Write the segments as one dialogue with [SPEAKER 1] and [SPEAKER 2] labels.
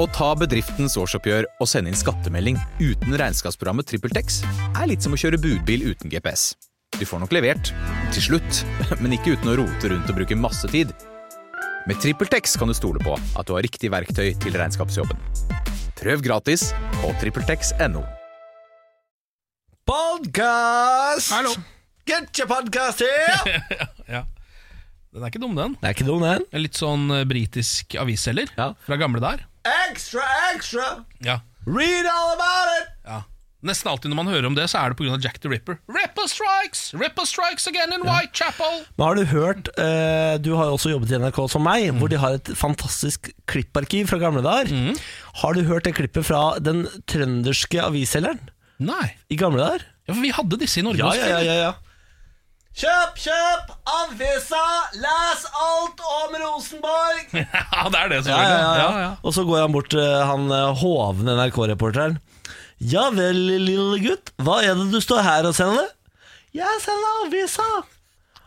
[SPEAKER 1] Å ta bedriftens årsoppgjør og sende inn skattemelding uten regnskapsprogrammet TrippelTex er litt som å kjøre budbil uten GPS. Du får nok levert, til slutt, men ikke uten å rote rundt og bruke masse tid. Med TrippelTex kan du stole på at du har riktig verktøy til regnskapsjobben. Prøv gratis på TrippelTex.no.
[SPEAKER 2] Podcast!
[SPEAKER 3] Hallo.
[SPEAKER 2] Get your podcast here!
[SPEAKER 3] Ja. Den er ikke dum, den.
[SPEAKER 4] Det er ikke dum, den.
[SPEAKER 3] En Litt sånn eh, britisk avisselger
[SPEAKER 4] Ja.
[SPEAKER 3] fra gamle der.
[SPEAKER 2] Extra, extra!
[SPEAKER 3] Ja.
[SPEAKER 2] Read all about it!
[SPEAKER 3] ja. Nesten alltid når man hører om det, så er det pga. Jack the Ripper. Ripper strikes! Ripper strikes again in Whitechapel!
[SPEAKER 4] Men har du hørt eh, Du har jo også jobbet i NRK som meg,
[SPEAKER 3] Mm.
[SPEAKER 4] hvor de har et fantastisk klipparkiv fra gamle dager. Har du hørt det klippet fra den trønderske avisselgeren
[SPEAKER 3] Nei.
[SPEAKER 4] i gamle dager?
[SPEAKER 3] Ja, for vi hadde disse i Norge. også, eller?
[SPEAKER 2] Kjøp, kjøp avisa! Les alt om Rosenborg!
[SPEAKER 3] ja, det er det,
[SPEAKER 4] Ja, ja,
[SPEAKER 3] selvfølgelig.
[SPEAKER 4] ja,
[SPEAKER 3] Ja, ja.
[SPEAKER 4] Og så går han bort, eh, han eh, hovne NRK-reporteren. Ja vel, lille gutt, hva er det du står her og sender? Jeg sender avisa,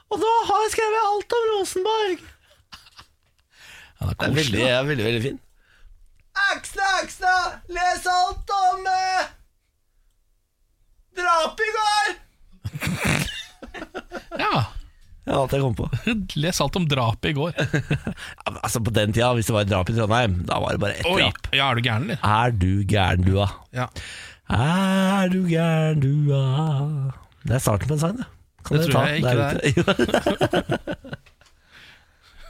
[SPEAKER 4] og nå har jeg skrevet alt om Rosenborg.
[SPEAKER 3] Ja, det er
[SPEAKER 4] Det er
[SPEAKER 3] koselig.
[SPEAKER 4] veldig, ja, veldig, veldig fin.
[SPEAKER 2] Ekstra, ekstra! Les alt om eh, drap i går!
[SPEAKER 3] Ja.
[SPEAKER 4] Ja, alt jeg kom på.
[SPEAKER 3] Les alt om drapet i går.
[SPEAKER 4] Ja, men Altså På den tida, hvis det var et drap i Trondheim, da var det bare ett
[SPEAKER 3] Oi,
[SPEAKER 4] drap.
[SPEAKER 3] ja, er du gæren, eller?
[SPEAKER 4] Er du gæren, du, da?
[SPEAKER 3] Ja.
[SPEAKER 4] Er du gæren, du, da? Det er starten på en sang, det. Kan
[SPEAKER 3] Det
[SPEAKER 4] dere
[SPEAKER 3] tror
[SPEAKER 4] ta
[SPEAKER 3] jeg
[SPEAKER 4] den
[SPEAKER 3] ikke
[SPEAKER 4] der ute? Jo,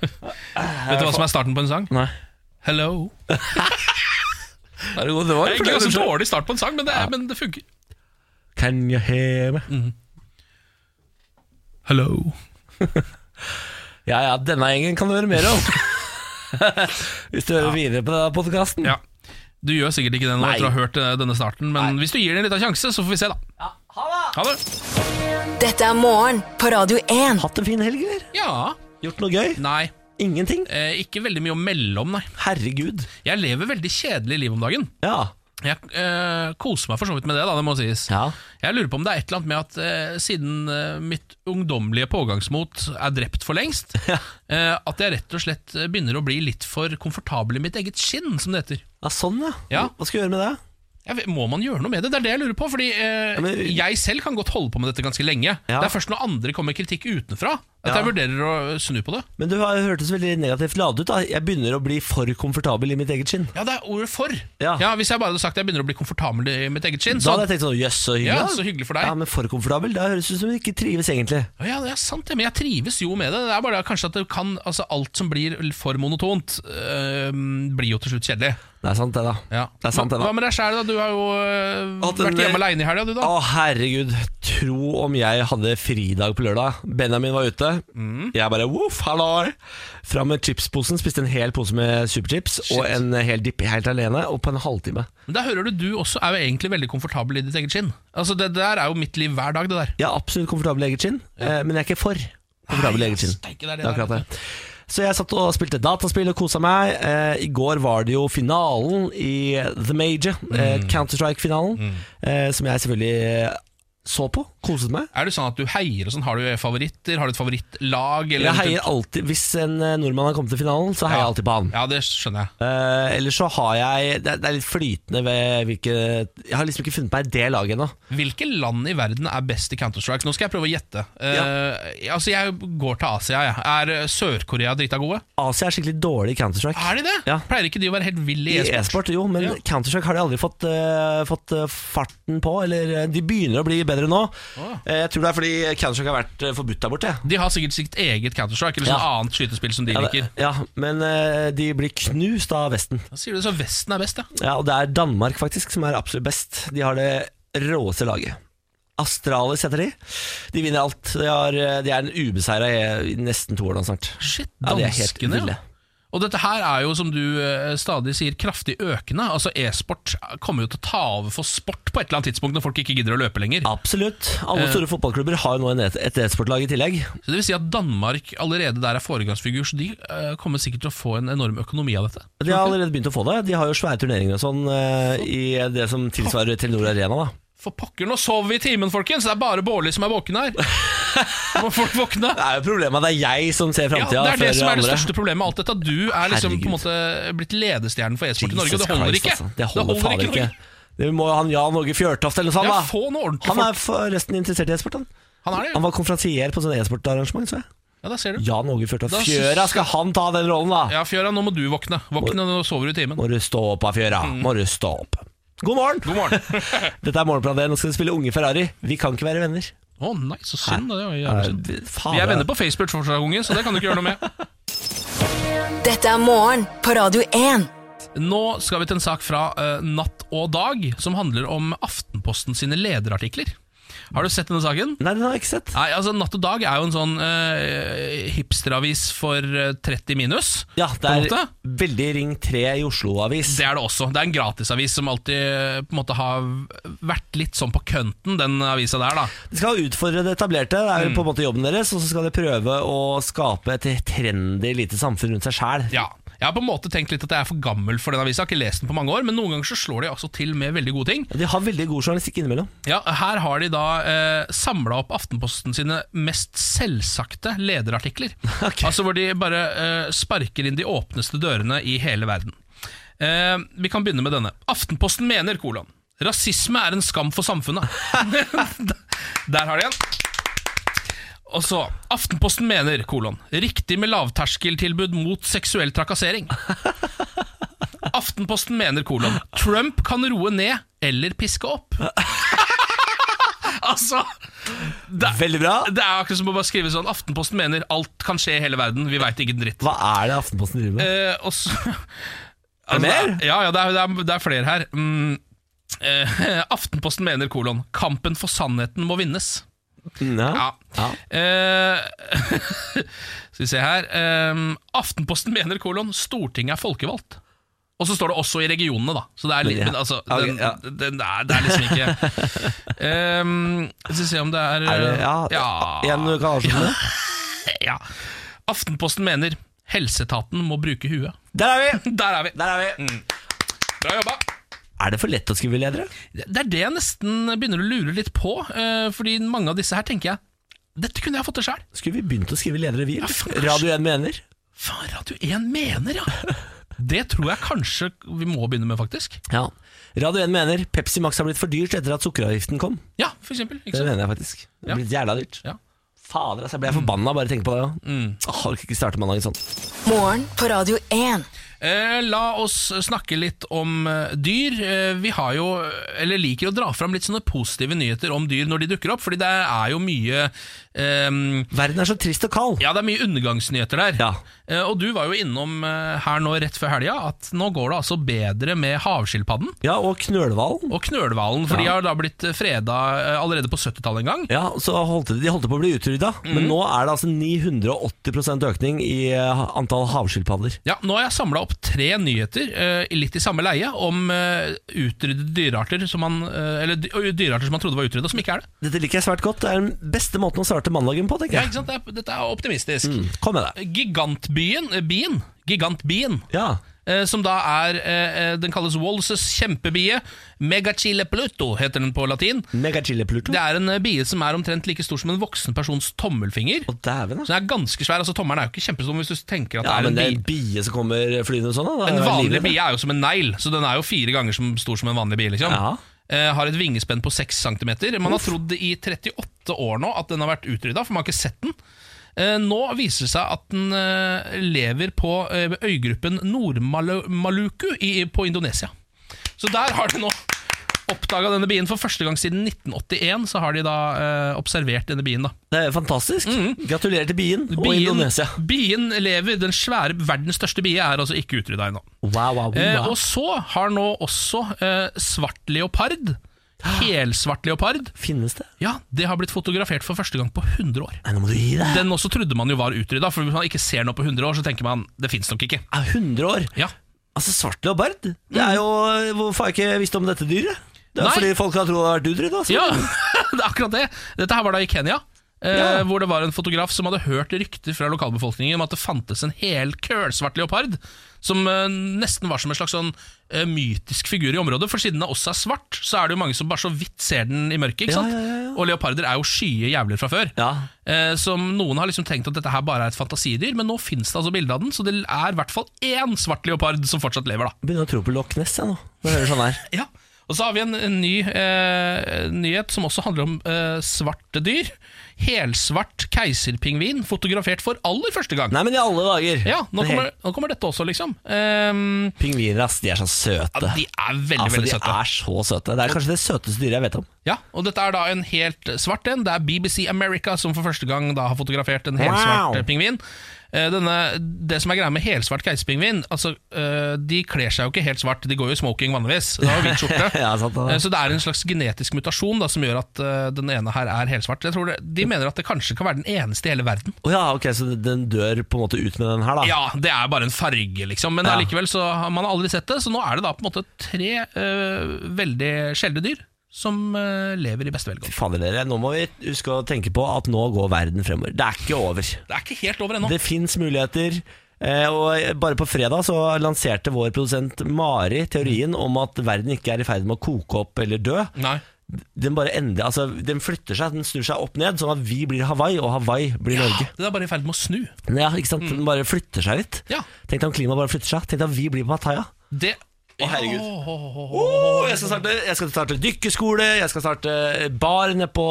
[SPEAKER 3] Vet du hva som er starten på en sang?
[SPEAKER 4] Nei.
[SPEAKER 3] Hello.
[SPEAKER 4] Er det god det var?
[SPEAKER 3] Det er egentlig ganske dårlig start på en sang, men det, er, men det funker.
[SPEAKER 4] Can you hear me?
[SPEAKER 3] Mm. Hello.
[SPEAKER 4] Ja ja, denne gjengen kan du høre mer om. Hvis du hører videre på denne podkasten.
[SPEAKER 3] Ja. Du gjør sikkert ikke det nå
[SPEAKER 4] Nei.
[SPEAKER 3] etter å ha hørt eh, denne starten, men hvis du gir den en liten sjanse, så får vi se, da. Ha det!
[SPEAKER 5] Dette er morgen på Radio 1.
[SPEAKER 4] Hatt en fin helg, eller?
[SPEAKER 3] Ja.
[SPEAKER 4] Gjort noe gøy?
[SPEAKER 3] Nei.
[SPEAKER 4] Ingenting?
[SPEAKER 3] Eh, ikke veldig mye å melde om, nei.
[SPEAKER 4] Herregud.
[SPEAKER 3] Jeg lever veldig kjedelig liv om dagen.
[SPEAKER 4] Ja.
[SPEAKER 3] Jeg eh, koser meg for så vidt med det, da, det må sies.
[SPEAKER 4] ja.
[SPEAKER 3] Jeg lurer på om det er et eller annet med at eh, siden eh, mitt ungdommelige pågangsmot er drept for lengst,
[SPEAKER 4] Ja.
[SPEAKER 3] eh, at jeg rett og slett eh, begynner å bli litt for komfortabel i mitt eget skinn, som det heter.
[SPEAKER 4] Ja, Sånn, ja.
[SPEAKER 3] Ja.
[SPEAKER 4] Hva skal vi gjøre med det?
[SPEAKER 3] Jeg vet- må man gjøre noe med det? Det er det jeg lurer på. Fordi eh,
[SPEAKER 4] Ja, men-
[SPEAKER 3] jeg selv kan godt holde på med dette ganske lenge.
[SPEAKER 4] Ja.
[SPEAKER 3] Det er først når andre kommer med kritikk utenfra at
[SPEAKER 4] Ja.
[SPEAKER 3] jeg vurderer å snu på det.
[SPEAKER 4] Men du har hørtes veldig negativt ladet ut. da Jeg begynner å bli for komfortabel i mitt eget skinn.
[SPEAKER 3] Ja, det er ordet for.
[SPEAKER 4] Ja.
[SPEAKER 3] Hvis jeg bare hadde sagt at jeg begynner å bli komfortabel i mitt eget skinn,
[SPEAKER 4] Da
[SPEAKER 3] så
[SPEAKER 4] hadde jeg tenkt sånn Jøss, så hyggelig.
[SPEAKER 3] Ja,
[SPEAKER 4] da.
[SPEAKER 3] så hyggelig for deg.
[SPEAKER 4] Ja, Men for komfortabel? Da høres det ut som du ikke trives egentlig.
[SPEAKER 3] Ja, ja, det er sant, det, men jeg trives jo med det. Det er bare kanskje at det kan, altså, alt som blir for monotont, øh, blir jo til slutt kjedelig.
[SPEAKER 4] Det er sant, det, da.
[SPEAKER 3] Ja.
[SPEAKER 4] Det er sant, det,
[SPEAKER 3] Hva,
[SPEAKER 4] da.
[SPEAKER 3] hva med deg sjæl, da? Du har jo øh,
[SPEAKER 4] Hatt en-
[SPEAKER 3] vært hjemme aleine i helga, du,
[SPEAKER 4] Å,
[SPEAKER 3] da.
[SPEAKER 4] herregud. Tro om jeg hadde fridag på lørdag. Benjamin var ute. Jeg bare voff, halloi. Fram med chipsposen. Spiste en hel pose med superchips og en eh, hel dipp helt alene, og på en halvtime.
[SPEAKER 3] Men da hører du du også er jo egentlig veldig komfortabel i ditt eget skinn. Altså, Det der er jo mitt liv hver dag, det der.
[SPEAKER 4] Jeg er absolutt komfortabel i eget skinn, eh, men jeg er ikke for komfortabel i eget skinn.
[SPEAKER 3] steike, det er
[SPEAKER 4] Det er
[SPEAKER 3] det der,
[SPEAKER 4] akkurat det. Så jeg satt og spilte dataspill og kosa meg. Eh, I går var det jo finalen i The Major, eh, Counter-Strike-finalen, eh, som jeg selvfølgelig så på. Koset meg.
[SPEAKER 3] Er det sånn at du heier og sånn? Har du favoritter? Har du et favorittlag? Eller
[SPEAKER 4] Jeg heier alltid, Hvis en eh, nordmann har kommet til finalen, så heier jeg alltid på han.
[SPEAKER 3] Ja, det skjønner jeg.
[SPEAKER 4] Eh, ellers så har jeg det, er- det er litt flytende ved hvilke Jeg har liksom ikke funnet meg i det laget ennå.
[SPEAKER 3] Hvilke land i verden er best i Counter-Strike? Nå skal jeg prøve å gjette. Eh, altså, Jeg går til Asia, jeg. Er eh, Sør-Korea drita gode?
[SPEAKER 4] Asia er skikkelig dårlig i Counter-Strike.
[SPEAKER 3] Er de det?
[SPEAKER 4] Ja.
[SPEAKER 3] Pleier ikke de å være helt ville
[SPEAKER 4] I
[SPEAKER 3] i e-sport?
[SPEAKER 4] e-sport, jo, men
[SPEAKER 3] Ja.
[SPEAKER 4] Counter-Strike har de aldri fått, eh, fått eh, farten på. Eller eh, de begynner å bli bedre nå.
[SPEAKER 3] Å.
[SPEAKER 4] Eh, jeg tror det er fordi Counter-Strike har vært eh, forbudt der borte. jeg.
[SPEAKER 3] De har sikkert sitt eget Counter-Strike eller sånn
[SPEAKER 4] Ja.
[SPEAKER 3] annet skytespill som de
[SPEAKER 4] Ja,
[SPEAKER 3] liker.
[SPEAKER 4] det- ja, men eh, de blir knust av Vesten.
[SPEAKER 3] Da sier du så Vesten er best, ja.
[SPEAKER 4] Ja, og det er Danmark faktisk som er absolutt best. De har det råeste laget. Astralis heter de. De vinner alt. De, har, eh, de er en ubeseira i nesten to år nå snart.
[SPEAKER 3] Shit,
[SPEAKER 4] Ja, de er helt
[SPEAKER 3] danskene, ja.
[SPEAKER 4] ville.
[SPEAKER 3] Og dette her er jo, som du eh, stadig sier, kraftig økende. Altså E-sport kommer jo til å ta over for sport på et eller annet tidspunkt når folk ikke gidder å løpe lenger.
[SPEAKER 4] Absolutt. Alle
[SPEAKER 3] Eh.
[SPEAKER 4] store fotballklubber har jo nå en et- et e-sportlag i tillegg.
[SPEAKER 3] Så det vil si at Danmark allerede der er foregangsfigur, så de eh, kommer sikkert til å få en enorm økonomi av dette.
[SPEAKER 4] De har allerede begynt å få det. De har jo svære turneringer og sånn eh, i det som tilsvarer Telenor Arena. da
[SPEAKER 3] For pokker, nå sov vi i timen, folkens! Det er bare Bårli som er våken her. Må folk våkne?
[SPEAKER 4] Det er jo problemet at det er jeg som ser
[SPEAKER 3] Ja,
[SPEAKER 4] framtida.
[SPEAKER 3] det er det som er det største problemet med alt dette. Du er liksom på en
[SPEAKER 4] Herregud.
[SPEAKER 3] måte blitt ledestjernen for e-sport i Norge, og det holder ikke.
[SPEAKER 4] Altså. Det holder, fader ikke. Det må jo han Jan Åge Fjørtoft eller noe sånt.
[SPEAKER 3] Ja,
[SPEAKER 4] da.
[SPEAKER 3] få noe ordentlig
[SPEAKER 4] han
[SPEAKER 3] folk.
[SPEAKER 4] er forresten interessert i e-sport. Han.
[SPEAKER 3] Han er det,
[SPEAKER 4] han
[SPEAKER 3] ja.
[SPEAKER 4] var konferansier på sånn e-sportarrangement, så jeg.
[SPEAKER 3] ja da ser du.
[SPEAKER 4] Jan Åge Fjørtoft.
[SPEAKER 3] Da synes-
[SPEAKER 4] Fjøra, skal han ta den rollen, da?
[SPEAKER 3] Ja, Fjøra, nå må du våkne. Våkne, nå sover du i timen.
[SPEAKER 4] Må du stå opp av fjøra.
[SPEAKER 3] Mm.
[SPEAKER 4] Må du stå opp. God morgen!
[SPEAKER 3] God morgen.
[SPEAKER 4] Dette er Morgenplanet. Nå skal de spille Unge Ferrari. Vi kan ikke være venner.
[SPEAKER 3] Å nei, så synd. da, Det var jævlig synd.
[SPEAKER 4] Eh, faen,
[SPEAKER 3] Vi er
[SPEAKER 4] det-
[SPEAKER 3] venner på Facebook fortsatt, unge, så det kan du ikke gjøre noe med.
[SPEAKER 5] Dette er morgen på Radio 1.
[SPEAKER 3] Nå skal vi til en sak fra eh, Natt og Dag, som handler om Aftenposten sine lederartikler. Har du sett denne saken?
[SPEAKER 4] Nei, den har jeg ikke sett.
[SPEAKER 3] Nei, altså Natt og Dag er jo en sånn eh, hipsteravis for eh, 30 minus.
[SPEAKER 4] Ja,
[SPEAKER 3] på en
[SPEAKER 4] det er
[SPEAKER 3] måte.
[SPEAKER 4] veldig Ring 3 i Oslo-avis.
[SPEAKER 3] Det er det også. Det er en gratisavis som alltid eh, på en måte har vært litt sånn på kønten, den avisa der, da.
[SPEAKER 4] De skal utfordre det etablerte, det
[SPEAKER 3] Mm.
[SPEAKER 4] er jo på en måte jobben deres. Og så skal de prøve å skape et trendy lite samfunn rundt seg sjæl.
[SPEAKER 3] Ja. Jeg har på en måte tenkt litt at jeg er for gammel for den avisa, jeg har ikke lest den på mange år, men noen ganger så slår de altså til med veldig gode ting.
[SPEAKER 4] De har veldig god journalistikk innimellom.
[SPEAKER 3] Ja, Her har de da eh, samla opp Aftenposten sine mest selvsagte lederartikler.
[SPEAKER 4] Ok.
[SPEAKER 3] Altså Hvor de bare eh, sparker inn de åpneste dørene i hele verden. Eh, vi kan begynne med denne. Aftenposten mener, kolon, rasisme er en skam for samfunnet. Der har de en. Og så, Aftenposten mener, kolon, riktig med lavterskeltilbud mot seksuell trakassering. Aftenposten mener, kolon, Trump kan roe ned eller piske opp. altså,
[SPEAKER 4] Veldig bra.
[SPEAKER 3] det er akkurat som å bare skrive sånn Aftenposten mener alt kan skje i hele verden, vi veit ikke en dritt.
[SPEAKER 4] Hva er det Aftenposten driver med?
[SPEAKER 3] Eh, og så
[SPEAKER 4] Er det mer?
[SPEAKER 3] Ja, ja, det er, det er, det er flere her. Mm, eh, Aftenposten mener, kolon, kampen for sannheten må vinnes.
[SPEAKER 4] Ja.
[SPEAKER 3] Ja. Eh, skal vi se her eh, Aftenposten mener kolon Stortinget er folkevalgt. Og så står det også i regionene, da. Så det er litt,
[SPEAKER 4] Ja.
[SPEAKER 3] men altså,
[SPEAKER 4] Ok,
[SPEAKER 3] den,
[SPEAKER 4] ja.
[SPEAKER 3] den er, det er liksom ikke um, Skal vi se om det er,
[SPEAKER 4] Er det, ja,
[SPEAKER 3] ja,
[SPEAKER 4] Igjen, du kan avslutte med det.
[SPEAKER 3] ja. Aftenposten mener helseetaten må bruke huet.
[SPEAKER 4] Der er vi!
[SPEAKER 3] Der er vi!
[SPEAKER 4] Der er, vi.
[SPEAKER 3] Bra jobba!
[SPEAKER 4] Mm. er det for lett å skrive ledere?
[SPEAKER 3] Det er det jeg nesten begynner å lure litt på, eh, fordi mange av disse her tenker jeg Dette kunne jeg fått til sjøl.
[SPEAKER 4] Skulle vi begynt å skrive ledere, vi? eller?
[SPEAKER 3] faen.
[SPEAKER 4] Radio 1 mener.
[SPEAKER 3] Faen, Radio 1 mener, ja! Det tror jeg kanskje vi må begynne med, faktisk.
[SPEAKER 4] Ja. Radio 1 mener Pepsi Max har blitt for dyrt etter at sukkeravgiften kom.
[SPEAKER 3] Ja, for eksempel. Ikke
[SPEAKER 4] Det
[SPEAKER 3] sant?
[SPEAKER 4] mener jeg faktisk. Det
[SPEAKER 3] Ja.
[SPEAKER 4] har blitt jævla dyrt.
[SPEAKER 3] Ja.
[SPEAKER 4] Fader, altså, jeg ble forbanna bare av å tenke på det. Ja. Åh, orker ikke starte mandagen sånn.
[SPEAKER 5] Morgen på Radio 1.
[SPEAKER 3] Eh, la oss snakke litt om eh, dyr. Eh, vi har jo, eller liker å dra fram litt sånne positive nyheter om dyr når de dukker opp, fordi det er jo mye eh,
[SPEAKER 4] Verden er så trist og kald.
[SPEAKER 3] Ja, det er mye undergangsnyheter der.
[SPEAKER 4] Ja.
[SPEAKER 3] Eh, og du var jo innom eh, her nå rett før helga at nå går det altså bedre med havskilpadden.
[SPEAKER 4] Ja, og knølhvalen.
[SPEAKER 3] Og knølhvalen, for de
[SPEAKER 4] Ja.
[SPEAKER 3] har da blitt freda eh, allerede på 70-tallet en gang.
[SPEAKER 4] Ja, så holdt de, de holdt på å bli utrydda, men nå er det altså 980 økning i eh, antall havskilpadder.
[SPEAKER 3] Ja, Nå har jeg samla opp tre nyheter, eh, litt i samme leie, om eh, utryddede dyrearter som man, eh, eller dy- dyrearter som man trodde var utrydda, som ikke er det.
[SPEAKER 4] Dette liker jeg svært godt. Det er den beste måten å starte mandagen på,
[SPEAKER 3] Ja,
[SPEAKER 4] tenker jeg.
[SPEAKER 3] ikke sant? Det er, dette er optimistisk. Eh,
[SPEAKER 4] Kom med deg.
[SPEAKER 3] Gigantbyen, eh, bien, gigantbien,
[SPEAKER 4] Ja.
[SPEAKER 3] eh, som da er eh, eh, Den kalles Walses kjempebie. Megachile pluto heter den på latin.
[SPEAKER 4] Megachile Pluto.
[SPEAKER 3] Det er en eh, bie som er omtrent like stor som en voksen persons tommelfinger.
[SPEAKER 4] Å, dæven,
[SPEAKER 3] Så
[SPEAKER 4] da.
[SPEAKER 3] den er ganske svær. altså Tommelen er jo ikke kjempestor, men hvis du tenker at
[SPEAKER 4] Ja,
[SPEAKER 3] det er
[SPEAKER 4] men
[SPEAKER 3] en
[SPEAKER 4] det er
[SPEAKER 3] bie
[SPEAKER 4] en bie som kommer flyende og sånn, da. da. er
[SPEAKER 3] En
[SPEAKER 4] det
[SPEAKER 3] vanlig
[SPEAKER 4] livet.
[SPEAKER 3] bie er jo som en negl, så den er jo fire ganger som stor som en vanlig bie. liksom
[SPEAKER 4] Ja.
[SPEAKER 3] Eh, Har et vingespenn på 6 cm. Man har trodd i 38 år nå at den har vært utrydda, for man har ikke sett den. Eh, Nå viser det seg at den eh, lever på eh, øygruppen Nord-Maluku i- på Indonesia. Så der har de nå oppdaga denne bien. For første gang siden 1981 så har de da eh, observert denne bien. da
[SPEAKER 4] Det er fantastisk. Gratulerer til bien, og
[SPEAKER 3] Mm. Bien-
[SPEAKER 4] Indonesia.
[SPEAKER 3] Bien lever. Den svære verdens største bie er altså ikke utrydda ennå.
[SPEAKER 4] Wow, wow, wow.
[SPEAKER 3] Eh, og så har nå også eh, svart leopard,
[SPEAKER 4] Ah.
[SPEAKER 3] helsvart leopard,
[SPEAKER 4] Finnes det?
[SPEAKER 3] ja, det har blitt fotografert for første gang på 100 år.
[SPEAKER 4] Nei, nå må du gi deg.
[SPEAKER 3] Den også trodde man jo var utrydda, for hvis man ikke ser noe på 100 år, så tenker man det fins nok ikke.
[SPEAKER 4] Er 100 år.
[SPEAKER 3] Ja. Mm.
[SPEAKER 4] Altså, svart leopard? Det er jo Hvorfor har jeg ikke visst om dette dyret? Det er
[SPEAKER 3] Nei.
[SPEAKER 4] fordi folk har trodd det har vært utrydda. altså.
[SPEAKER 3] ja, det er akkurat det. Dette her var da i Kenya. eh, Hvor det var en fotograf som hadde hørt rykter fra lokalbefolkningen om at det fantes en hel kølsvart leopard, som eh, nesten var som en slags sånn eh, mytisk figur i området. For siden den også er svart, så er det jo mange som bare så vidt ser den i mørket. ikke
[SPEAKER 4] Ja,
[SPEAKER 3] sant?
[SPEAKER 4] ja, ja, ja.
[SPEAKER 3] Og leoparder er jo skye jævler fra før.
[SPEAKER 4] Ja.
[SPEAKER 3] Eh, som Noen har liksom tenkt at dette her bare er et fantasidyr, men nå fins det altså bilde av den, så det er i hvert fall én svart leopard som fortsatt lever, da.
[SPEAKER 4] Begynner å tro på Loch Ness jeg nå. Når jeg hører sånn her.
[SPEAKER 3] Ja, og så har vi en, en ny eh, nyhet som også handler om eh, svarte dyr. Helsvart keiserpingvin fotografert for aller første gang.
[SPEAKER 4] Nei, men i alle dager.
[SPEAKER 3] Ja, nå
[SPEAKER 4] Det er
[SPEAKER 3] kommer, nå kommer dette også, liksom. Ehm,
[SPEAKER 4] helt- Pingviner, ass. De er så søte.
[SPEAKER 3] ja, de er veldig,
[SPEAKER 4] altså,
[SPEAKER 3] veldig
[SPEAKER 4] de
[SPEAKER 3] søte.
[SPEAKER 4] er så søte. Det er kanskje det søteste dyret jeg vet om.
[SPEAKER 3] Ja, og dette er da en helt svart en. Det er BBC America som for første gang da har fotografert en helsvart
[SPEAKER 4] Wow.
[SPEAKER 3] eh, pingvin. Eh, Denne, det som er greia med helsvart keiserpingvin altså, eh, De kler seg jo ikke helt svart, de går jo i smoking vanligvis. Det har jo hvit skjorte.
[SPEAKER 4] Ja, sant det.
[SPEAKER 3] Eh, Så det er en slags genetisk mutasjon da, som gjør at eh, den ene her er helsvart. Jeg tror det, de mener at det kanskje kan være den eneste i hele verden.
[SPEAKER 4] Å ja, ok, Så den dør på en måte ut med den her, da?
[SPEAKER 3] Ja, det er bare en farge, liksom. Men
[SPEAKER 4] Ah. Ja.
[SPEAKER 3] allikevel så har man aldri sett det. Så nå er det da på en måte tre eh, veldig sjeldne dyr som eh, lever i beste velgående.
[SPEAKER 4] Fy Fader dere, nå må vi huske å tenke på at nå går verden fremover. Det er ikke over.
[SPEAKER 3] Det er ikke helt over ennå.
[SPEAKER 4] Det fins muligheter. eh, Og bare på fredag så lanserte vår produsent Mari teorien om at verden ikke er i ferd med å koke opp eller dø.
[SPEAKER 3] Nei.
[SPEAKER 4] Den bare endrer, altså den flytter seg, den snur seg opp ned, sånn at vi blir Hawaii, og Hawaii blir Norge. Mm.
[SPEAKER 3] Det er bare i ferd med å snu.
[SPEAKER 4] Ja, ikke sant? Den bare flytter seg litt.
[SPEAKER 3] Ja.
[SPEAKER 4] Tenk deg om klimaet bare flytter seg. Tenk deg om vi blir på Pattaya.
[SPEAKER 3] Det
[SPEAKER 4] Å, herregud.
[SPEAKER 3] Åh, åh, åh, åh.
[SPEAKER 4] Åh, jeg, skal starte, jeg skal starte dykkeskole, jeg skal starte bar nede på,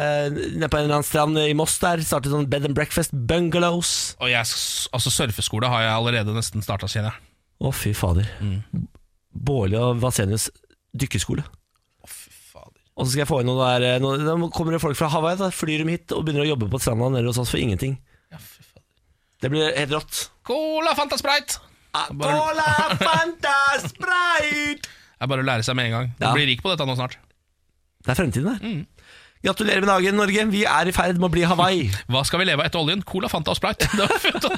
[SPEAKER 4] eh, nede på en eller annen strand i Moss der. Starte sånn bed and breakfast bungalows.
[SPEAKER 3] Og jeg, s- altså Surfeskole har jeg allerede nesten starta, kjenner jeg.
[SPEAKER 4] Å, fy fader. Bårli og Vasenius dykkeskole.
[SPEAKER 3] Å, fy fader.
[SPEAKER 4] Og så skal jeg få inn noen der eh, noen, Da kommer det folk fra Hawaii, da flyr de hit og begynner å jobbe på stranda nede hos oss for ingenting.
[SPEAKER 3] Ja, fy fader.
[SPEAKER 4] Det blir helt rått.
[SPEAKER 3] Cola Fanta Sprite! Bare,
[SPEAKER 4] Cola, Fanta, Sprite!
[SPEAKER 3] det er bare å lære seg med en gang. Du
[SPEAKER 4] Ja.
[SPEAKER 3] blir rik på dette nå snart.
[SPEAKER 4] Det er fremtiden, det.
[SPEAKER 3] Mm.
[SPEAKER 4] Gratulerer med dagen, Norge. Vi er i ferd med å bli Hawaii.
[SPEAKER 3] Hva skal vi leve av etter oljen? Cola Fanta og Sprite. Det var fint.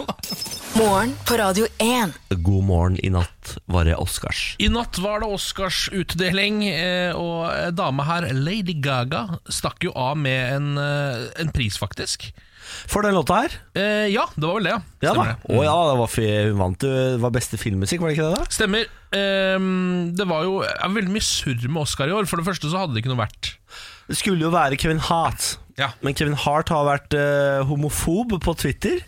[SPEAKER 5] Morgen på Radio 1.
[SPEAKER 4] God morgen. I natt var det Oscars.
[SPEAKER 3] I natt var det Oscarsutdeling, eh, og dama her, Lady Gaga, stakk jo av med en, eh, en pris, faktisk.
[SPEAKER 4] For den låta her.
[SPEAKER 3] Eh, Ja, det var vel det, ja.
[SPEAKER 4] Ja da.
[SPEAKER 3] Stemmer det.
[SPEAKER 4] Å ja, det var fi- hun vant jo det var beste filmmusikk, var det ikke det? da?
[SPEAKER 3] Stemmer. Ehm, det var jo ja, veldig mye surr med Oscar i år. For det første så hadde det ikke noe vært.
[SPEAKER 4] Det skulle jo være Kevin Hart.
[SPEAKER 3] Ja.
[SPEAKER 4] Men Kevin Hart har vært eh, homofob på Twitter.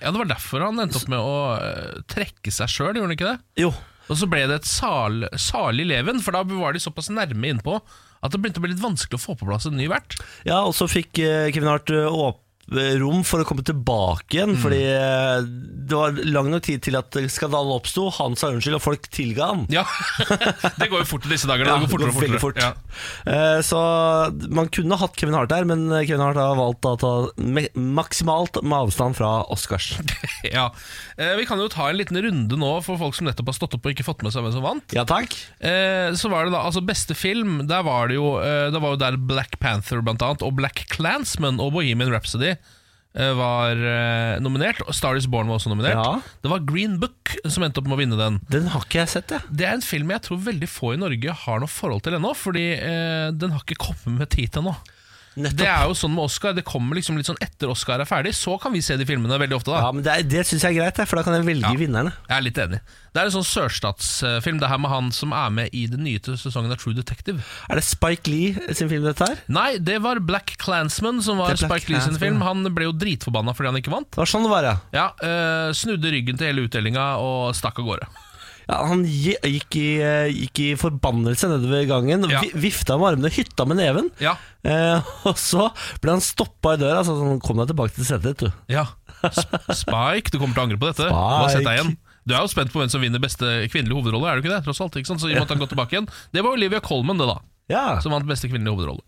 [SPEAKER 3] ja, Det var derfor han endte opp med å eh, trekke seg sjøl, gjorde han ikke det?
[SPEAKER 4] Jo.
[SPEAKER 3] Og så ble det et sal, salig leven, for da var de såpass nærme innpå at det begynte å bli litt vanskelig å få på plass en ny vert.
[SPEAKER 4] Ja, og så fikk eh, Kevin Hart eh, åp rom for å komme tilbake igjen, fordi eh, det var lang nok tid til at skandalen oppsto. Han sa unnskyld, og folk tilga han.
[SPEAKER 3] Ja, Det går jo fort i disse dager. da. det går fortere og fortere.
[SPEAKER 4] veldig fort.
[SPEAKER 3] Ja.
[SPEAKER 4] Eh, så man kunne hatt Kevin Hart der, men Kevin Hart har valgt å ta me maksimalt med avstand fra Oscars.
[SPEAKER 3] Ja. Eh, vi kan jo ta en liten runde nå for folk som nettopp har stått opp og ikke fått med seg hvem som vant.
[SPEAKER 4] Ja takk.
[SPEAKER 3] Eh, så var det da, altså Beste film, der var det jo eh, Det var jo der Black Panther blant annet, og Black Clansman og Bohemian Rhapsody eh, var eh, nominert. Og Star Is Born var også nominert.
[SPEAKER 4] Ja.
[SPEAKER 3] Det var Green Book som endte opp med å vinne den.
[SPEAKER 4] Den har ikke jeg sett, jeg.
[SPEAKER 3] Det er en film jeg tror veldig få i Norge har noe forhold til ennå, fordi eh, den har ikke kommet med tid til ennå. Det
[SPEAKER 4] Nettopp.
[SPEAKER 3] er jo sånn med Oscar, det kommer liksom litt sånn etter Oscar er ferdig, så kan vi se de filmene veldig ofte. da
[SPEAKER 4] Ja, men Det, er- det syns jeg er greit, jeg, for da kan jeg velge
[SPEAKER 3] Ja.
[SPEAKER 4] vinnerne.
[SPEAKER 3] Jeg er litt enig. Det er en sånn sørstatsfilm, det her med han som er med i den nye sesongen av True Detective.
[SPEAKER 4] Er det Spike Lee sin film, dette her?
[SPEAKER 3] Nei, det var Black Clansman som var
[SPEAKER 4] Det er Black
[SPEAKER 3] Spike Lee sin
[SPEAKER 4] Klansman,
[SPEAKER 3] film. Han ble jo dritforbanna fordi han ikke vant.
[SPEAKER 4] Det var sånn det var, ja.
[SPEAKER 3] Ja, eh, Snudde ryggen til hele utdelinga og stakk av gårde.
[SPEAKER 4] ja han gi- gikk i, eh, gikk i forbannelse nedover gangen,
[SPEAKER 3] Ja.
[SPEAKER 4] vi- vifta med armene, hytta med neven.
[SPEAKER 3] Ja,
[SPEAKER 4] Eh, og så ble han stoppa i døra. Så sånn, kom deg tilbake til setet ditt, du.
[SPEAKER 3] ja. Sp Spike, du kommer til å angre på dette. Du har sett deg igjen. Du er jo spent på hvem som vinner beste kvinnelige hovedrolle, er du ikke det? Tross alt, ikke sant? Så vi måtte han gå tilbake igjen. Det var Olivia Colman, det, da.
[SPEAKER 4] Ja.
[SPEAKER 3] Som vant beste kvinnelige hovedrolle.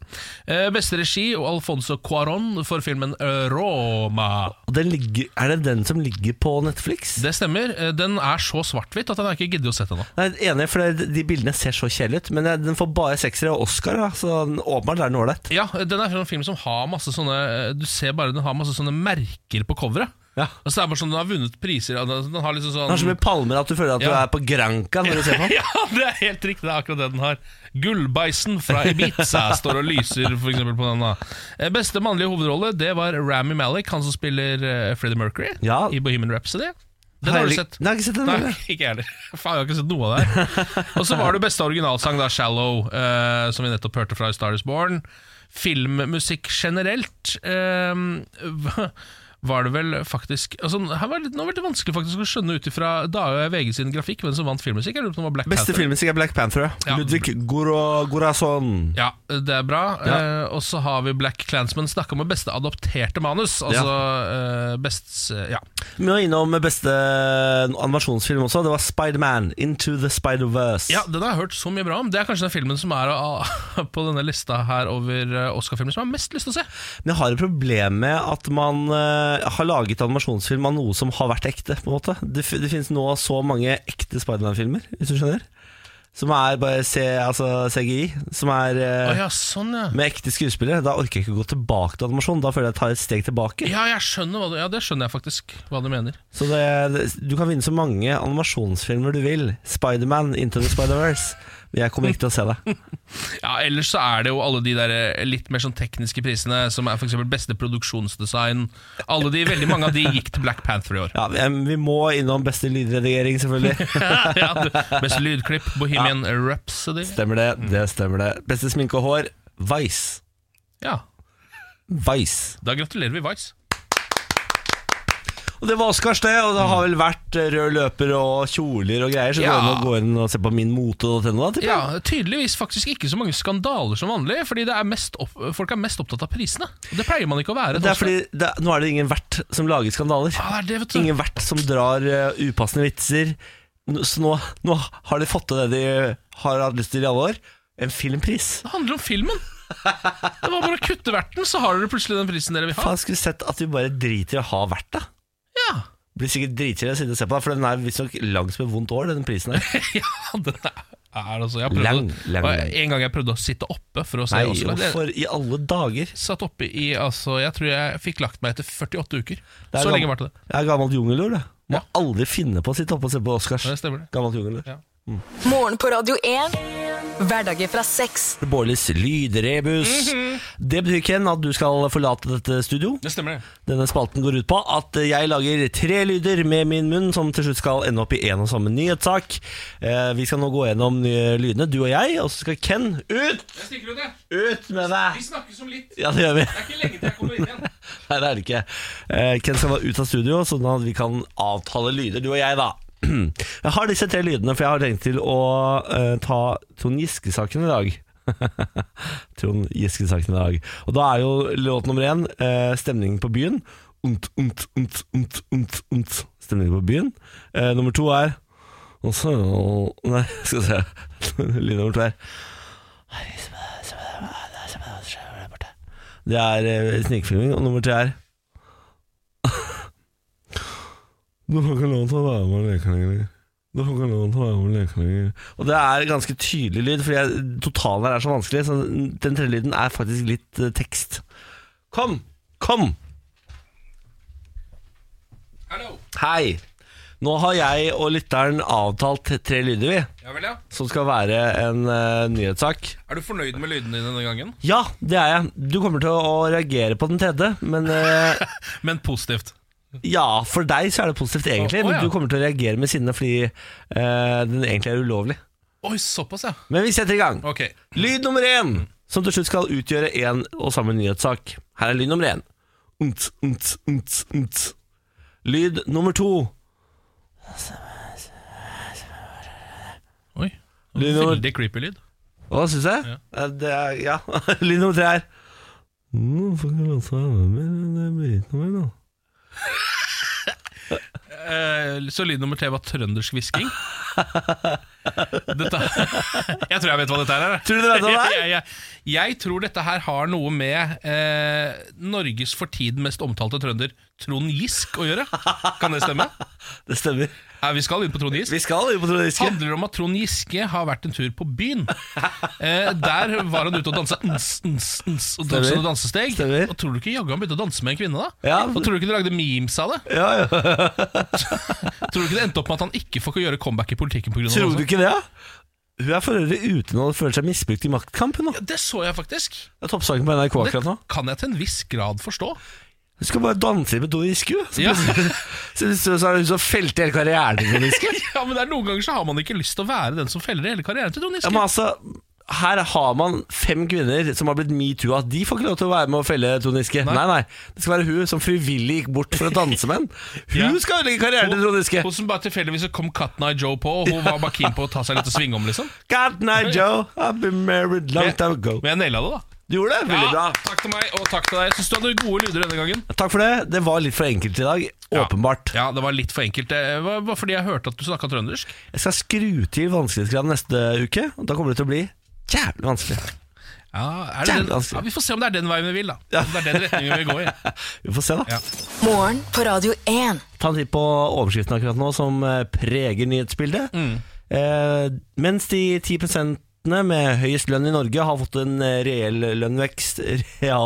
[SPEAKER 3] Eh, beste regi og Alfonso Cuaron for filmen eh, Roma.
[SPEAKER 4] Og den ligger, er det den som ligger på Netflix?
[SPEAKER 3] Det stemmer. Eh, Den er så svart-hvitt at jeg har ikke giddet å se den ennå.
[SPEAKER 4] Nei, Enig, for det, de bildene ser så kjedelige ut. Men jeg- den får bare seksere og Oscar, da, så den- åpenbart er den ålreit.
[SPEAKER 3] eh, Ja, den er en film som har masse sånne Du ser bare den har masse sånne merker på coveret.
[SPEAKER 4] Ja.
[SPEAKER 3] Altså, det er bare sånn, Den har vunnet priser. og Den den har liksom sånn
[SPEAKER 4] Den har så mye palmer at du føler at du
[SPEAKER 3] Ja.
[SPEAKER 4] er på Granca når du ser på den.
[SPEAKER 3] Ja, det er helt riktig. Det er akkurat det den har. Gullbeisen fra Ibiza står og lyser for eksempel, på den. da Eh, Beste mannlige hovedrolle Det var Rami Malik, han som spiller eh, Freddie Mercury
[SPEAKER 4] Ja.
[SPEAKER 3] i Bohemian Rhapsody.
[SPEAKER 4] Har
[SPEAKER 3] Den
[SPEAKER 4] jeg
[SPEAKER 3] har
[SPEAKER 4] li-
[SPEAKER 3] du sett?
[SPEAKER 4] Nei, jeg har ikke sett den,
[SPEAKER 3] Nei,
[SPEAKER 4] eller?
[SPEAKER 3] ikke jeg heller. Faen, jeg har ikke sett noe av det her. Og så var det beste originalsang, da, 'Shallow', eh, som vi nettopp hørte fra 'Star Is Born'. Filmmusikk generelt eh, var det vel faktisk altså, her var det, Nå var det litt vanskelig faktisk å skjønne ut ifra da VG sin grafikk hvem som vant filmmusikk. Jeg lurer på om det var Black
[SPEAKER 4] Beste
[SPEAKER 3] Panther.
[SPEAKER 4] filmmusikk er Black Panther.
[SPEAKER 3] Ja.
[SPEAKER 4] Ja. Ludvig Gora- Gorazon.
[SPEAKER 3] Ja, det er bra. Eh, og så har vi Black Clansman snakka om beste adopterte manus. Altså eh, best Ja.
[SPEAKER 4] Vi var innom beste animasjonsfilm også. Det var Spiderman, Into the Spider-Verse.
[SPEAKER 3] ja, den har jeg hørt så mye bra om. Det er kanskje den filmen som er ah, på denne lista her over eh, Oscar-filmer som jeg har mest lyst til å se.
[SPEAKER 4] Men jeg har et problem med at man eh, har laget animasjonsfilm av noe som har vært ekte. på en måte Det, f- det finnes nå så mange ekte Spiderman-filmer, hvis du skjønner. Som er bare C, altså CGI. Som er eh,
[SPEAKER 3] Å ja, sånn, ja.
[SPEAKER 4] med ekte skuespillere. Da orker jeg ikke gå tilbake til animasjon. Da føler jeg at jeg tar et steg tilbake.
[SPEAKER 3] Ja, jeg skjønner hva du, ja, det skjønner jeg faktisk hva du mener.
[SPEAKER 4] Så det, det, Du kan vinne så mange animasjonsfilmer du vil. Spiderman, Into the Spider-Verse. Men jeg kommer ikke til å se det.
[SPEAKER 3] Ja, Ellers så er det jo alle de der eh, litt mer sånn tekniske prisene, som er f.eks. beste produksjonsdesign. Alle de, Veldig mange av de gikk til Black Panther i år.
[SPEAKER 4] Ja, men Vi må innom beste lydredigering, selvfølgelig.
[SPEAKER 3] ja, du, best lydklipp, Bohemian Rhapsody.
[SPEAKER 4] Stemmer det, det stemmer det. Beste sminke og hår, Vice.
[SPEAKER 3] Ja,
[SPEAKER 4] Vice.
[SPEAKER 3] Da gratulerer vi Vice.
[SPEAKER 4] Og det var Oscars, det. Og det har vel vært eh, rød løper og kjoler og greier, så
[SPEAKER 3] Ja.
[SPEAKER 4] ja. gå inn og se på minmote.no, da. tipper jeg.
[SPEAKER 3] Ja, Tydeligvis faktisk ikke så mange skandaler som vanlig, fordi det er mest opp, folk er mest opptatt av prisene. Det Ah. pleier man ikke å være.
[SPEAKER 4] Det er fordi det, nå er det ingen vert som lager skandaler.
[SPEAKER 3] ja, det er det, vet du.
[SPEAKER 4] Ingen vert som drar eh, upassende vitser. N- Så nå, nå har de fått til det de har hatt lyst til i alle år. En filmpris.
[SPEAKER 3] Det handler om filmen! Det var bare å kutte verten, så har dere plutselig den prisen dere vil ha.
[SPEAKER 4] Faen, skulle sett at vi bare driter i å ha vert, da.
[SPEAKER 3] Ja,
[SPEAKER 4] Blir sikkert dritkjedelig å sitte og se på, da, for den er visstnok langs med vondt år, den prisen her.
[SPEAKER 3] ja den er, er altså jeg prøvde,
[SPEAKER 4] Lang, lang,
[SPEAKER 3] og
[SPEAKER 4] lang.
[SPEAKER 3] En gang jeg prøvde å sitte oppe for å se
[SPEAKER 4] Nei,
[SPEAKER 3] Oscar. Det-
[SPEAKER 4] hvorfor i alle dager?
[SPEAKER 3] Satt oppe i altså, Jeg tror jeg fikk lagt meg etter 48
[SPEAKER 4] Det
[SPEAKER 3] uker.
[SPEAKER 4] er
[SPEAKER 3] Så
[SPEAKER 4] gammel-
[SPEAKER 3] lenge varte det.
[SPEAKER 4] Jeg er gammelt jungelur, det. Må
[SPEAKER 3] Ja.
[SPEAKER 4] aldri finne på å sitte oppe og se på Oscars.
[SPEAKER 3] Ja, det stemmer det.
[SPEAKER 4] Gammelt jungelur.
[SPEAKER 3] Ja.
[SPEAKER 5] Morgen på Radio 1. Hverdager fra seks.
[SPEAKER 4] Bårdlis lydrebus.
[SPEAKER 3] Mm-hmm.
[SPEAKER 4] Det betyr ikke at du skal forlate dette studio.
[SPEAKER 3] Det stemmer, det.
[SPEAKER 4] Denne spalten går ut på at jeg lager tre lyder med min munn, som til slutt skal ende opp i en og samme nyhetssak. Eh, Vi skal nå gå gjennom nye lydene, du og jeg, og så skal Ken ut!
[SPEAKER 3] Jeg stikker ut, jeg.
[SPEAKER 4] Ut med deg!
[SPEAKER 3] snakkes om litt.
[SPEAKER 4] Ja, det gjør vi.
[SPEAKER 3] Det er ikke lenge til jeg kommer inn igjen.
[SPEAKER 4] Nei, det er det ikke. Eh, Ken skal være ut av studio, sånn at vi kan avtale lyder, du og jeg, da. Jeg har disse tre lydene, for jeg har tenkt til å eh, ta Trond Giske-saken i dag. Trond Giske-saken i dag. Og da er jo låt nummer én eh, stemningen på byen. Unt, unt, unt, unt, unt, unt. Stemningen på byen. Eh, nummer to er og så Nei, skal vi se. Lyd nummer to er Det er eh, snikfilming. Og nummer tre er Du får ikke lov til å være med og leke lenger. Du får ikke lov til å være med og leke lenger. Og det er ganske tydelig lyd, fordi jeg- totalen her er så vanskelig. Så den tredje lyden er faktisk litt eh, tekst. Kom! Kom!
[SPEAKER 3] Hallo.
[SPEAKER 4] Hei! Nå har jeg og lytteren avtalt tre lyder, vi.
[SPEAKER 3] Ja vel, ja.
[SPEAKER 4] Som skal være en eh, nyhetssak.
[SPEAKER 3] Er du fornøyd med lydene dine denne gangen?
[SPEAKER 4] Ja, det er jeg. Du kommer til å reagere på den tredje, men eh,
[SPEAKER 3] Men positivt.
[SPEAKER 4] Ja, for deg så er det positivt egentlig,
[SPEAKER 3] Å, å, ja.
[SPEAKER 4] men du kommer til å reagere med sinne fordi eh, den egentlig er ulovlig.
[SPEAKER 3] Oi, såpass, ja.
[SPEAKER 4] Men vi setter i gang.
[SPEAKER 3] Ok.
[SPEAKER 4] Lyd nummer én, som til slutt skal utgjøre én og samme nyhetssak. Her er lyd nummer én. Unt, unt, unt, unt. Lyd nummer to.
[SPEAKER 3] Oi.
[SPEAKER 4] Lyd nummer
[SPEAKER 3] Veldig creepy lyd.
[SPEAKER 4] Hva syns jeg?
[SPEAKER 3] Ja.
[SPEAKER 4] Eh, Det er, ja. Lyd nummer tre er Nå får ikke lov til å være med mer enn britene mine, da.
[SPEAKER 3] Eh, så lyd nummer tre var trøndersk hvisking. Dette Jeg tror jeg vet hva dette her er.
[SPEAKER 4] Tror du det er det der?
[SPEAKER 3] Jeg, jeg, jeg, jeg tror dette her har noe med eh, Norges for tiden mest omtalte trønder, Trond Gisk, å gjøre. Kan det stemme?
[SPEAKER 4] Det stemmer.
[SPEAKER 3] Eh, Vi skal inn på Trond Giske.
[SPEAKER 4] Vi skal jo på Trond Giske.
[SPEAKER 3] handler om at Trond Giske har vært en tur på byen. Eh, der var han ute og dansa ns, ns, ns, og dansa
[SPEAKER 4] Stemmer.
[SPEAKER 3] noen dansesteg.
[SPEAKER 4] Stemmer.
[SPEAKER 3] Og tror du ikke jaggu han begynte å danse med en kvinne, da?
[SPEAKER 4] Ja.
[SPEAKER 3] Og tror du ikke de lagde memes av det?
[SPEAKER 4] Ja, ja.
[SPEAKER 3] Tror du ikke det endte opp med at han ikke får gjøre comeback i politikken pga.
[SPEAKER 4] Tror du ikke det? ja? Hun er for øvrig ute nå og føler seg misbrukt i maktkamp. Hun, da.
[SPEAKER 3] Det så jeg faktisk.
[SPEAKER 4] Det er toppsaken på NRK
[SPEAKER 3] Det
[SPEAKER 4] akkurat nå.
[SPEAKER 3] kan jeg til en viss grad forstå.
[SPEAKER 4] Hun skal bare danse med Trond Giske. hun. Så,
[SPEAKER 3] Ja.
[SPEAKER 4] så, så, så er det hun som felte hele karrieren til Trond Giske.
[SPEAKER 3] ja, men det er Noen ganger så har man ikke lyst til å være den som feller i hele karrieren til Trond
[SPEAKER 4] Ja,
[SPEAKER 3] Giske.
[SPEAKER 4] men altså, her har man fem kvinner som har blitt metoo-a. De får ikke lov til å være med å felle Trond Giske. Nei. nei, Det skal være hun som frivillig gikk bort for å danse med en. Hun
[SPEAKER 3] Ja.
[SPEAKER 4] skal ødelegge karrieren til Trond Giske.
[SPEAKER 3] Hun som bare tilfeldigvis kom Cotton Eye Joe på, og hun var bare keen på å ta seg litt og svinge om, liksom.
[SPEAKER 4] God night, Joe. I've been married long
[SPEAKER 3] Men-
[SPEAKER 4] time ago.
[SPEAKER 3] Men jeg naila det, da.
[SPEAKER 4] Du gjorde det? Veldig bra.
[SPEAKER 3] Ja, takk til meg, og takk til deg. Syns du hadde gode lyder denne gangen.
[SPEAKER 4] Takk for det. Det var litt for enkelt i dag. Åpenbart.
[SPEAKER 3] Ja, det var litt for enkelt. Det var var fordi jeg hørte at du snakka trøndersk.
[SPEAKER 4] Jeg skal skru til vanskelighetsgraden neste uke, og da kommer det til å bli jævlig vanskelig.
[SPEAKER 3] Ja, er det
[SPEAKER 4] Jævlig
[SPEAKER 3] den,
[SPEAKER 4] vanskelig.
[SPEAKER 3] ja, vi får se om det er den veien vi vil, da. Om det er den retningen vi vil gå i.
[SPEAKER 4] Vi får se, da.
[SPEAKER 3] Ja.
[SPEAKER 5] Morgen på Radio 1.
[SPEAKER 4] Ta en titt på overskriften akkurat nå, som eh, preger nyhetsbildet. Eh, mens de 10 med høyest lønn i Norge har fått en eh, reell lønnvekst,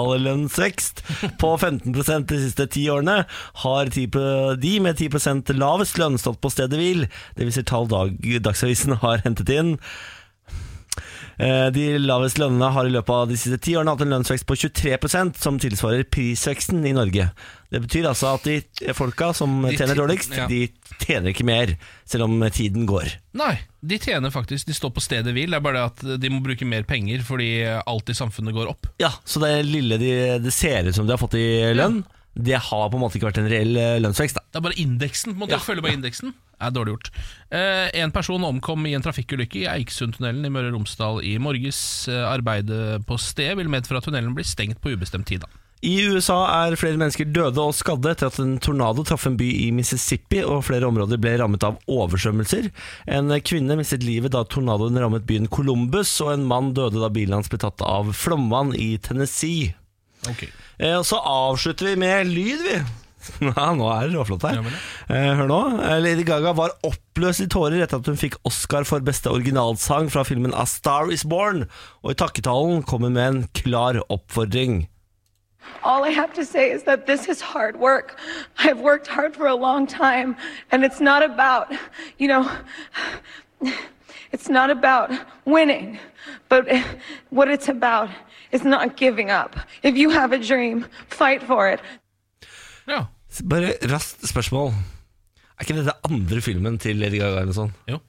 [SPEAKER 4] reallønnsvekst på 15 de siste ti årene, har 10 pro- de med 10 lavest lønn stått på stedet hvil. Det viser tall dag, Dagsavisen har hentet inn. Eh, De lavest lønnene har i løpet av de siste ti årene hatt en lønnsvekst på 23 som tilsvarer prisveksten i Norge. Det betyr altså at de folka som
[SPEAKER 3] De
[SPEAKER 4] tjener
[SPEAKER 3] tj-
[SPEAKER 4] dårligst,
[SPEAKER 3] ja.
[SPEAKER 4] de tjener ikke mer, selv om tiden går.
[SPEAKER 3] Nei, de tjener faktisk. De står på stedet hvil. Det er bare det at de må bruke mer penger fordi alt i samfunnet går opp.
[SPEAKER 4] Ja, Så det lille de, det ser ut som de har fått i lønn, det har på en måte ikke vært en reell eh, lønnsvekst. Da.
[SPEAKER 3] Det er bare indeksen. på en måte. Du følger bare indeksen. Det er dårlig gjort. Eh, en person omkom i en trafikkulykke i Eiksundtunnelen i Møre og Romsdal i morges. Eh, arbeidet på stedet vil medføre at tunnelen blir stengt på ubestemt tid. da.
[SPEAKER 4] I USA er flere mennesker døde og skadde etter at en tornado traff en by i Mississippi, og flere områder ble rammet av oversvømmelser. En kvinne mistet livet da tornadoen rammet byen Columbus, og en mann døde da bilen hans ble tatt av flomvann i Tennessee.
[SPEAKER 3] Ok.
[SPEAKER 4] Eh, og så avslutter vi med lyd, vi. Ja, nå er det råflott her.
[SPEAKER 3] Ja, men
[SPEAKER 4] Eh, Hør nå. Eh, Lady Gaga var oppløst i tårer etter at hun fikk Oscar for beste originalsang fra filmen A Star Is Born, og i takketalen kom hun med en klar oppfordring.
[SPEAKER 6] All I have to say is that this is hard work. I've worked hard for a long time, and it's not about, you know, it's not about winning, but what it's about is not giving up. If you have a dream, fight for it.
[SPEAKER 3] Ja.
[SPEAKER 4] Bare raskt spørsmål. Er ikke dette andre filmen til Lady Gaga eller sånn?
[SPEAKER 3] Jo.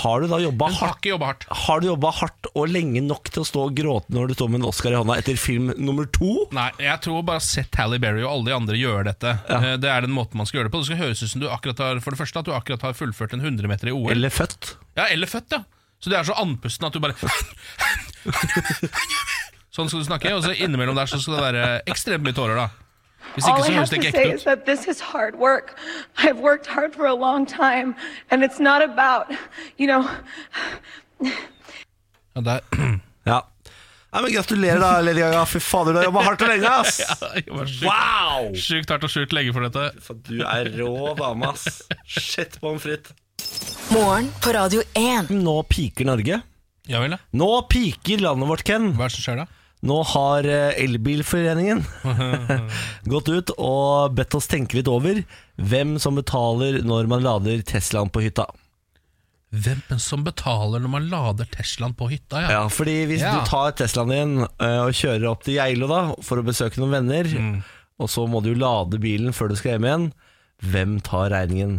[SPEAKER 4] Har du da jobba
[SPEAKER 3] Hun har
[SPEAKER 4] hardt?
[SPEAKER 3] ikke jobba hardt.
[SPEAKER 4] Har du jobba hardt og lenge nok til å stå og gråte når du står med en Oscar i hånda etter film nummer to?
[SPEAKER 3] Nei, jeg tror bare se Tally Berry og alle de andre gjøre dette. Eh, Det er den måten man skal gjøre det på. Det skal høres ut som du akkurat har, for det første, at du akkurat har fullført en 100 meter i OL.
[SPEAKER 4] Eller født?
[SPEAKER 3] ja, eller født, ja. Så du er så andpusten at du bare Sånn skal du snakke, og så innimellom der så skal det være ekstremt mye tårer, da. Hvis ikke
[SPEAKER 6] All I
[SPEAKER 3] så
[SPEAKER 6] have
[SPEAKER 3] høres det
[SPEAKER 6] to
[SPEAKER 3] ikke
[SPEAKER 6] say
[SPEAKER 3] ekte
[SPEAKER 6] is
[SPEAKER 3] ut.
[SPEAKER 6] that this is hard work. I've worked hard for a long time, and it's not about, you know,
[SPEAKER 3] Ja, det er
[SPEAKER 4] Ja. Nei, men Gratulerer, da, Lady Gaga. Fy fader, du har jobba hardt og lenge, ass!
[SPEAKER 3] det var sjukt,
[SPEAKER 4] Wow!
[SPEAKER 3] sjukt hardt og sjukt lenge for dette.
[SPEAKER 4] Du er rå dame, ass. Shit pommes frites.
[SPEAKER 5] Morgen på Radio 1.
[SPEAKER 4] Nå piker Norge.
[SPEAKER 3] Ja vel, ja.
[SPEAKER 4] Nå piker landet vårt, Ken.
[SPEAKER 3] Hva er det som skjer da?
[SPEAKER 4] Nå har eh, Elbilforeningen gått ut og bedt oss tenke litt over hvem som betaler når man lader Teslaen på hytta.
[SPEAKER 3] Hvem som betaler når man lader Teslaen på hytta, ja?
[SPEAKER 4] Ja, fordi hvis
[SPEAKER 3] Ja.
[SPEAKER 4] du tar Teslaen din eh, og kjører opp til Geilo da, for å besøke noen venner,
[SPEAKER 3] Mm.
[SPEAKER 4] og så må du lade bilen før du skal hjem igjen, hvem tar regningen?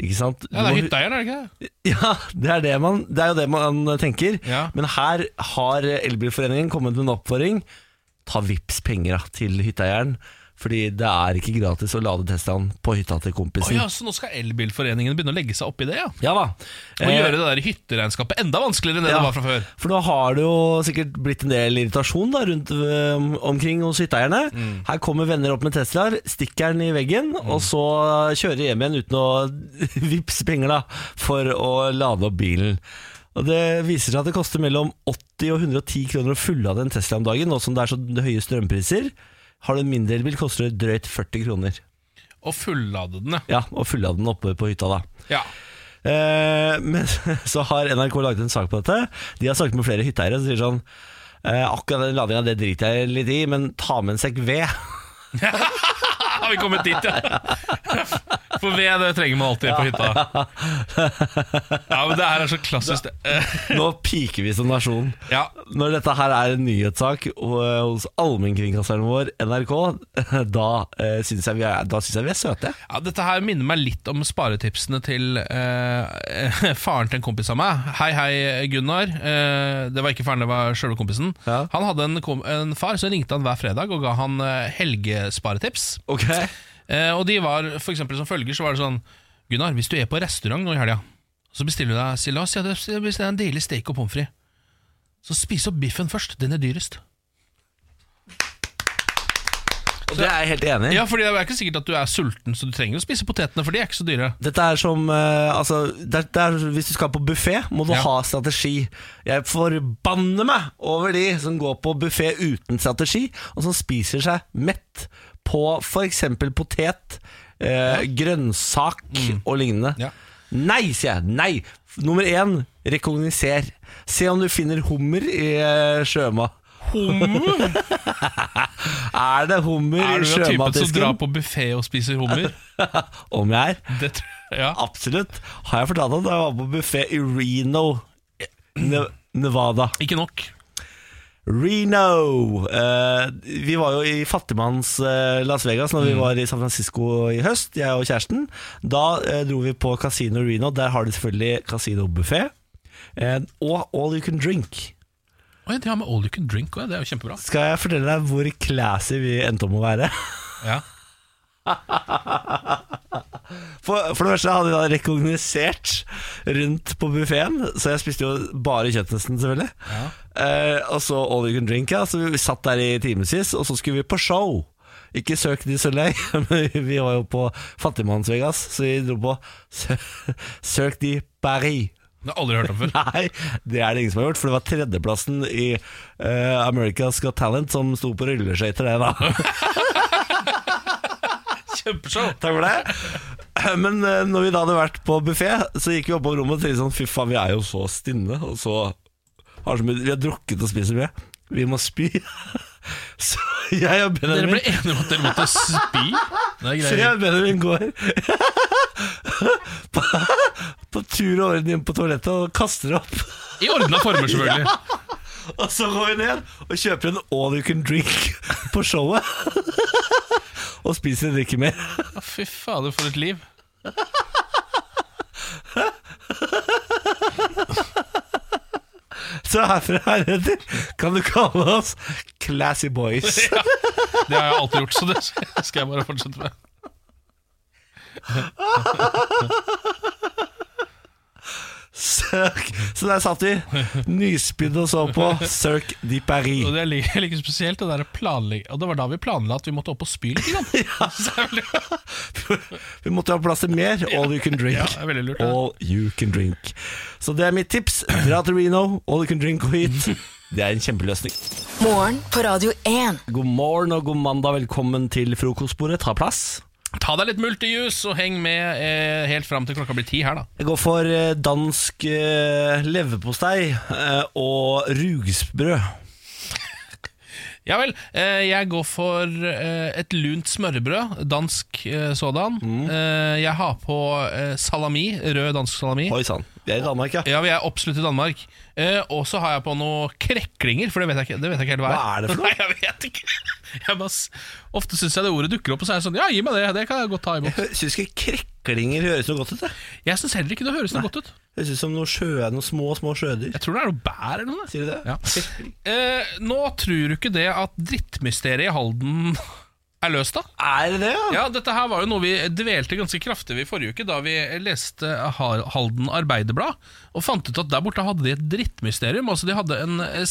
[SPEAKER 4] Ikke sant?
[SPEAKER 3] Ja, det
[SPEAKER 4] Du
[SPEAKER 3] er
[SPEAKER 4] må-
[SPEAKER 3] hytteeieren, er det ikke det?
[SPEAKER 4] Ja, det er, det, man, det er jo det man tenker.
[SPEAKER 3] Ja.
[SPEAKER 4] Men her har Elbilforeningen kommet med en oppfordring. Ta vips penger da, til hytteeieren, fordi det er ikke gratis å lade Teslaen på hytta til
[SPEAKER 3] Å
[SPEAKER 4] kompisen.
[SPEAKER 3] ja, så nå skal Elbilforeningen begynne å legge seg opp i det, ja?
[SPEAKER 4] Ja da.
[SPEAKER 3] Og
[SPEAKER 4] Eh,
[SPEAKER 3] gjøre det der hytteregnskapet enda vanskeligere enn det
[SPEAKER 4] ja,
[SPEAKER 3] det var fra før.
[SPEAKER 4] For nå har det jo sikkert blitt en del irritasjon da, rundt øhm, omkring hos hytteeierne. Her kommer venner opp med Teslaer, stikker den i veggen, og så kjører hjem igjen uten å vippse penger da, for å lade opp bilen. Og Det viser seg at det koster mellom 80 og 110 kroner å fulle av en Tesla om dagen, nå som det er så høye strømpriser. Har du en mindre elbil, koster det drøyt 40 kroner.
[SPEAKER 3] og fullade den. ja.
[SPEAKER 4] Ja, og fulla den oppe på hytta da
[SPEAKER 3] Ja.
[SPEAKER 4] Eh, men så har NRK laget en sak på dette. De har snakket med flere hytteeiere som sier sånn eh, Akkurat den ladinga, det driter jeg litt i, men ta med en sekk ved.
[SPEAKER 3] Har vi kommet dit, ja? For ved det trenger man alltid på hytta. Ja, men Det her er så klassisk. det. Eh,
[SPEAKER 4] Nå piker vi som nasjon.
[SPEAKER 3] Ja,
[SPEAKER 4] Når dette her er en nyhetssak ho- hos allmennkringkasteren vår, NRK, da eh, syns jeg, vi er- da syns jeg vi er søte.
[SPEAKER 3] ja, Dette her minner meg litt om sparetipsene til eh, faren til en kompis av meg. Hei, hei, Gunnar. Eh, det var ikke faren, det var sjølve kompisen.
[SPEAKER 4] Ja.
[SPEAKER 3] Han hadde en, kom en far, så ringte han hver fredag og ga han eh, helgesparetips.
[SPEAKER 4] Ok
[SPEAKER 3] Eh, og de var for eksempel som følger Så var det sånn Gunnar, hvis du er på restaurant nå i helga Så bestiller du deg Silas, ja, det bestiller jeg en deilig steak og pomfri Så spis opp biffen først Den er dyrest
[SPEAKER 4] Og det er jeg helt enig i.
[SPEAKER 3] Ja, fordi det er ikke sikkert at du er sulten Så du trenger jo å spise potetene For de er ikke så dyre
[SPEAKER 4] Dette er som eh, altså, det er, det er, Hvis du skal på buffé, må du
[SPEAKER 3] Ja.
[SPEAKER 4] ha strategi. Jeg forbanner meg over de som går på buffé uten strategi, og som spiser seg mett på f.eks. potet, eh, grønnsak og lignende.
[SPEAKER 3] Mm. Ja.
[SPEAKER 4] Nei, sier jeg. Nei! Nummer én, rekogniser. Se om du finner hummer i eh, sjømat.
[SPEAKER 3] Hummer?
[SPEAKER 4] Er det hummer
[SPEAKER 3] Er
[SPEAKER 4] i
[SPEAKER 3] du den typen som drar
[SPEAKER 4] sjømatdisken?
[SPEAKER 3] på buffet og spiser hummer?
[SPEAKER 4] Om jeg er?
[SPEAKER 3] Det tror jeg ja.
[SPEAKER 4] Absolutt. Har jeg fortalt at jeg var på buffé i Reno, Ne- Nevada?
[SPEAKER 3] Ikke nok
[SPEAKER 4] Reno! Eh, vi var jo i fattigmanns eh, Las Vegas når vi var i San Francisco i høst, jeg og kjæresten. Da eh, dro vi på Casino Reno. Der har de selvfølgelig kasinobuffé. Eh, og All You Can Drink.
[SPEAKER 3] Oi, de har med all you can drink også, Det er jo kjempebra
[SPEAKER 4] Skal jeg fortelle deg hvor classy vi endte om å være?
[SPEAKER 3] ja.
[SPEAKER 4] For, for det første hadde jeg da rekognosert rundt på buffeen, så jeg spiste jo bare kjøttnesten, selvfølgelig. Eh, og så all you can drink, ja. Så vi satt der i timevis, og så skulle vi på show. Ikke Cirque du Soleil, men vi var jo på Fattigmanns-Vegas, så vi dro på Cir- Cirque du Paris.
[SPEAKER 3] Det har jeg aldri hørt om før
[SPEAKER 4] Nei, det er det ingen som har gjort, for det var tredjeplassen i eh, America's Got Talent som sto på rulleskøyter, det, da.
[SPEAKER 3] Kjempeshow
[SPEAKER 4] Takk for det. Men eh, når vi da hadde vært på buffé, så gikk vi opp på rommet og tenkte sånn Fy faen, vi er jo så stinne, og så har så mye Vi har drukket og spiser mye. Vi må spy. Så jeg og
[SPEAKER 3] Dere
[SPEAKER 4] Benjamin
[SPEAKER 3] ble enige om at dere måtte spy Det er
[SPEAKER 4] så jeg
[SPEAKER 3] greier
[SPEAKER 4] og Benjamin går på, på tur og orden inn på toalettet og kaster opp.
[SPEAKER 3] I ordnet former selvfølgelig
[SPEAKER 4] Og så går vi ned og kjøper en all you can drink på showet. Og spiser og drikker mer.
[SPEAKER 3] Ja, Fy fader, for et liv.
[SPEAKER 4] Så herfra heretter kan du kalle oss Classy Boys.
[SPEAKER 3] Det har jeg alltid gjort, så det skal jeg bare fortsette med.
[SPEAKER 4] Cirque. Så der satt vi, nyspydd og så på Cirque de
[SPEAKER 3] Og
[SPEAKER 4] Paris.
[SPEAKER 3] Det er like, like spesielt det der planlegg... Og det var da vi planla at vi måtte opp og spy litt. Grann. Så det er veldig-
[SPEAKER 4] Vi måtte ha plass til mer All You Can Drink.
[SPEAKER 3] Ja, det er veldig lurt, det.
[SPEAKER 4] All You Can Drink. Så det er mitt tips. Dra til Reno, All You Can Drink og hit. Det er en kjempeløsning.
[SPEAKER 5] Morgen på Radio 1.
[SPEAKER 4] God morgen og god mandag. Velkommen til frokostbordet. Ta plass.
[SPEAKER 3] Ta deg litt multijus og heng med eh, helt fram til klokka blir ti her, da.
[SPEAKER 4] Jeg går for eh, dansk eh, leverpostei eh, og rugsbrød.
[SPEAKER 3] Ja vel. Eh, jeg går for eh, et lunt smørbrød. Dansk eh, sådan. Eh, jeg har på eh, salami. Rød dansk salami.
[SPEAKER 4] Oi sann, vi er i Danmark, ja.
[SPEAKER 3] Ja, vi er absolutt i Danmark. Eh, og så har jeg på noen kreklinger, for det vet jeg ikke, det vet jeg ikke helt hva
[SPEAKER 4] Hva er det for noe?
[SPEAKER 3] Nei, jeg vet ikke. Jeg bare, s- ofte syns jeg det ordet dukker opp, og så er jeg sånn Ja, gi meg det, det kan jeg godt ta imot.
[SPEAKER 4] Syns ikke kreklinger høres noe godt ut? Det
[SPEAKER 3] Jeg syns heller ikke det høres noe godt ut.
[SPEAKER 4] Høres ut som noe sjø, noen små, små sjødyr.
[SPEAKER 3] Jeg tror det er noe bær eller noe.
[SPEAKER 4] Sier du det?
[SPEAKER 3] Ja. Eh, nå tror du ikke det at drittmysteriet i Halden er løst, da?
[SPEAKER 4] Er det det,
[SPEAKER 3] Ja, dette her var jo noe vi dvelte ganske kraftig ved i forrige uke, da vi leste Ha- Halden Arbeiderblad, og fant ut at der borte hadde de et drittmysterium. Altså De hadde en eh,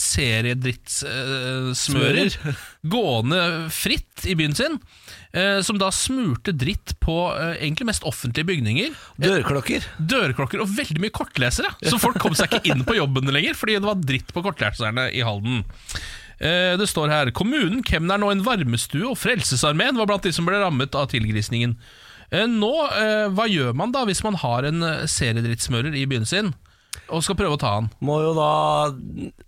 [SPEAKER 3] seriedrittsmører gående fritt i byen sin, eh, som da smurte dritt på eh, egentlig mest offentlige bygninger,
[SPEAKER 4] Dørklokker.
[SPEAKER 3] dørklokker og veldig mye kortlesere. Så folk kom seg ikke inn på jobben lenger, fordi det var dritt på kortleserne i Halden. Eh, Det står her Kommunen, kemneren og en varmestue og Frelsesarmeen var blant de som ble rammet av tilgrisningen. Eh, Nå, eh, hva gjør man da hvis man har en eh, seriedrittsmører i byen sin og skal prøve å ta han?
[SPEAKER 4] Må jo da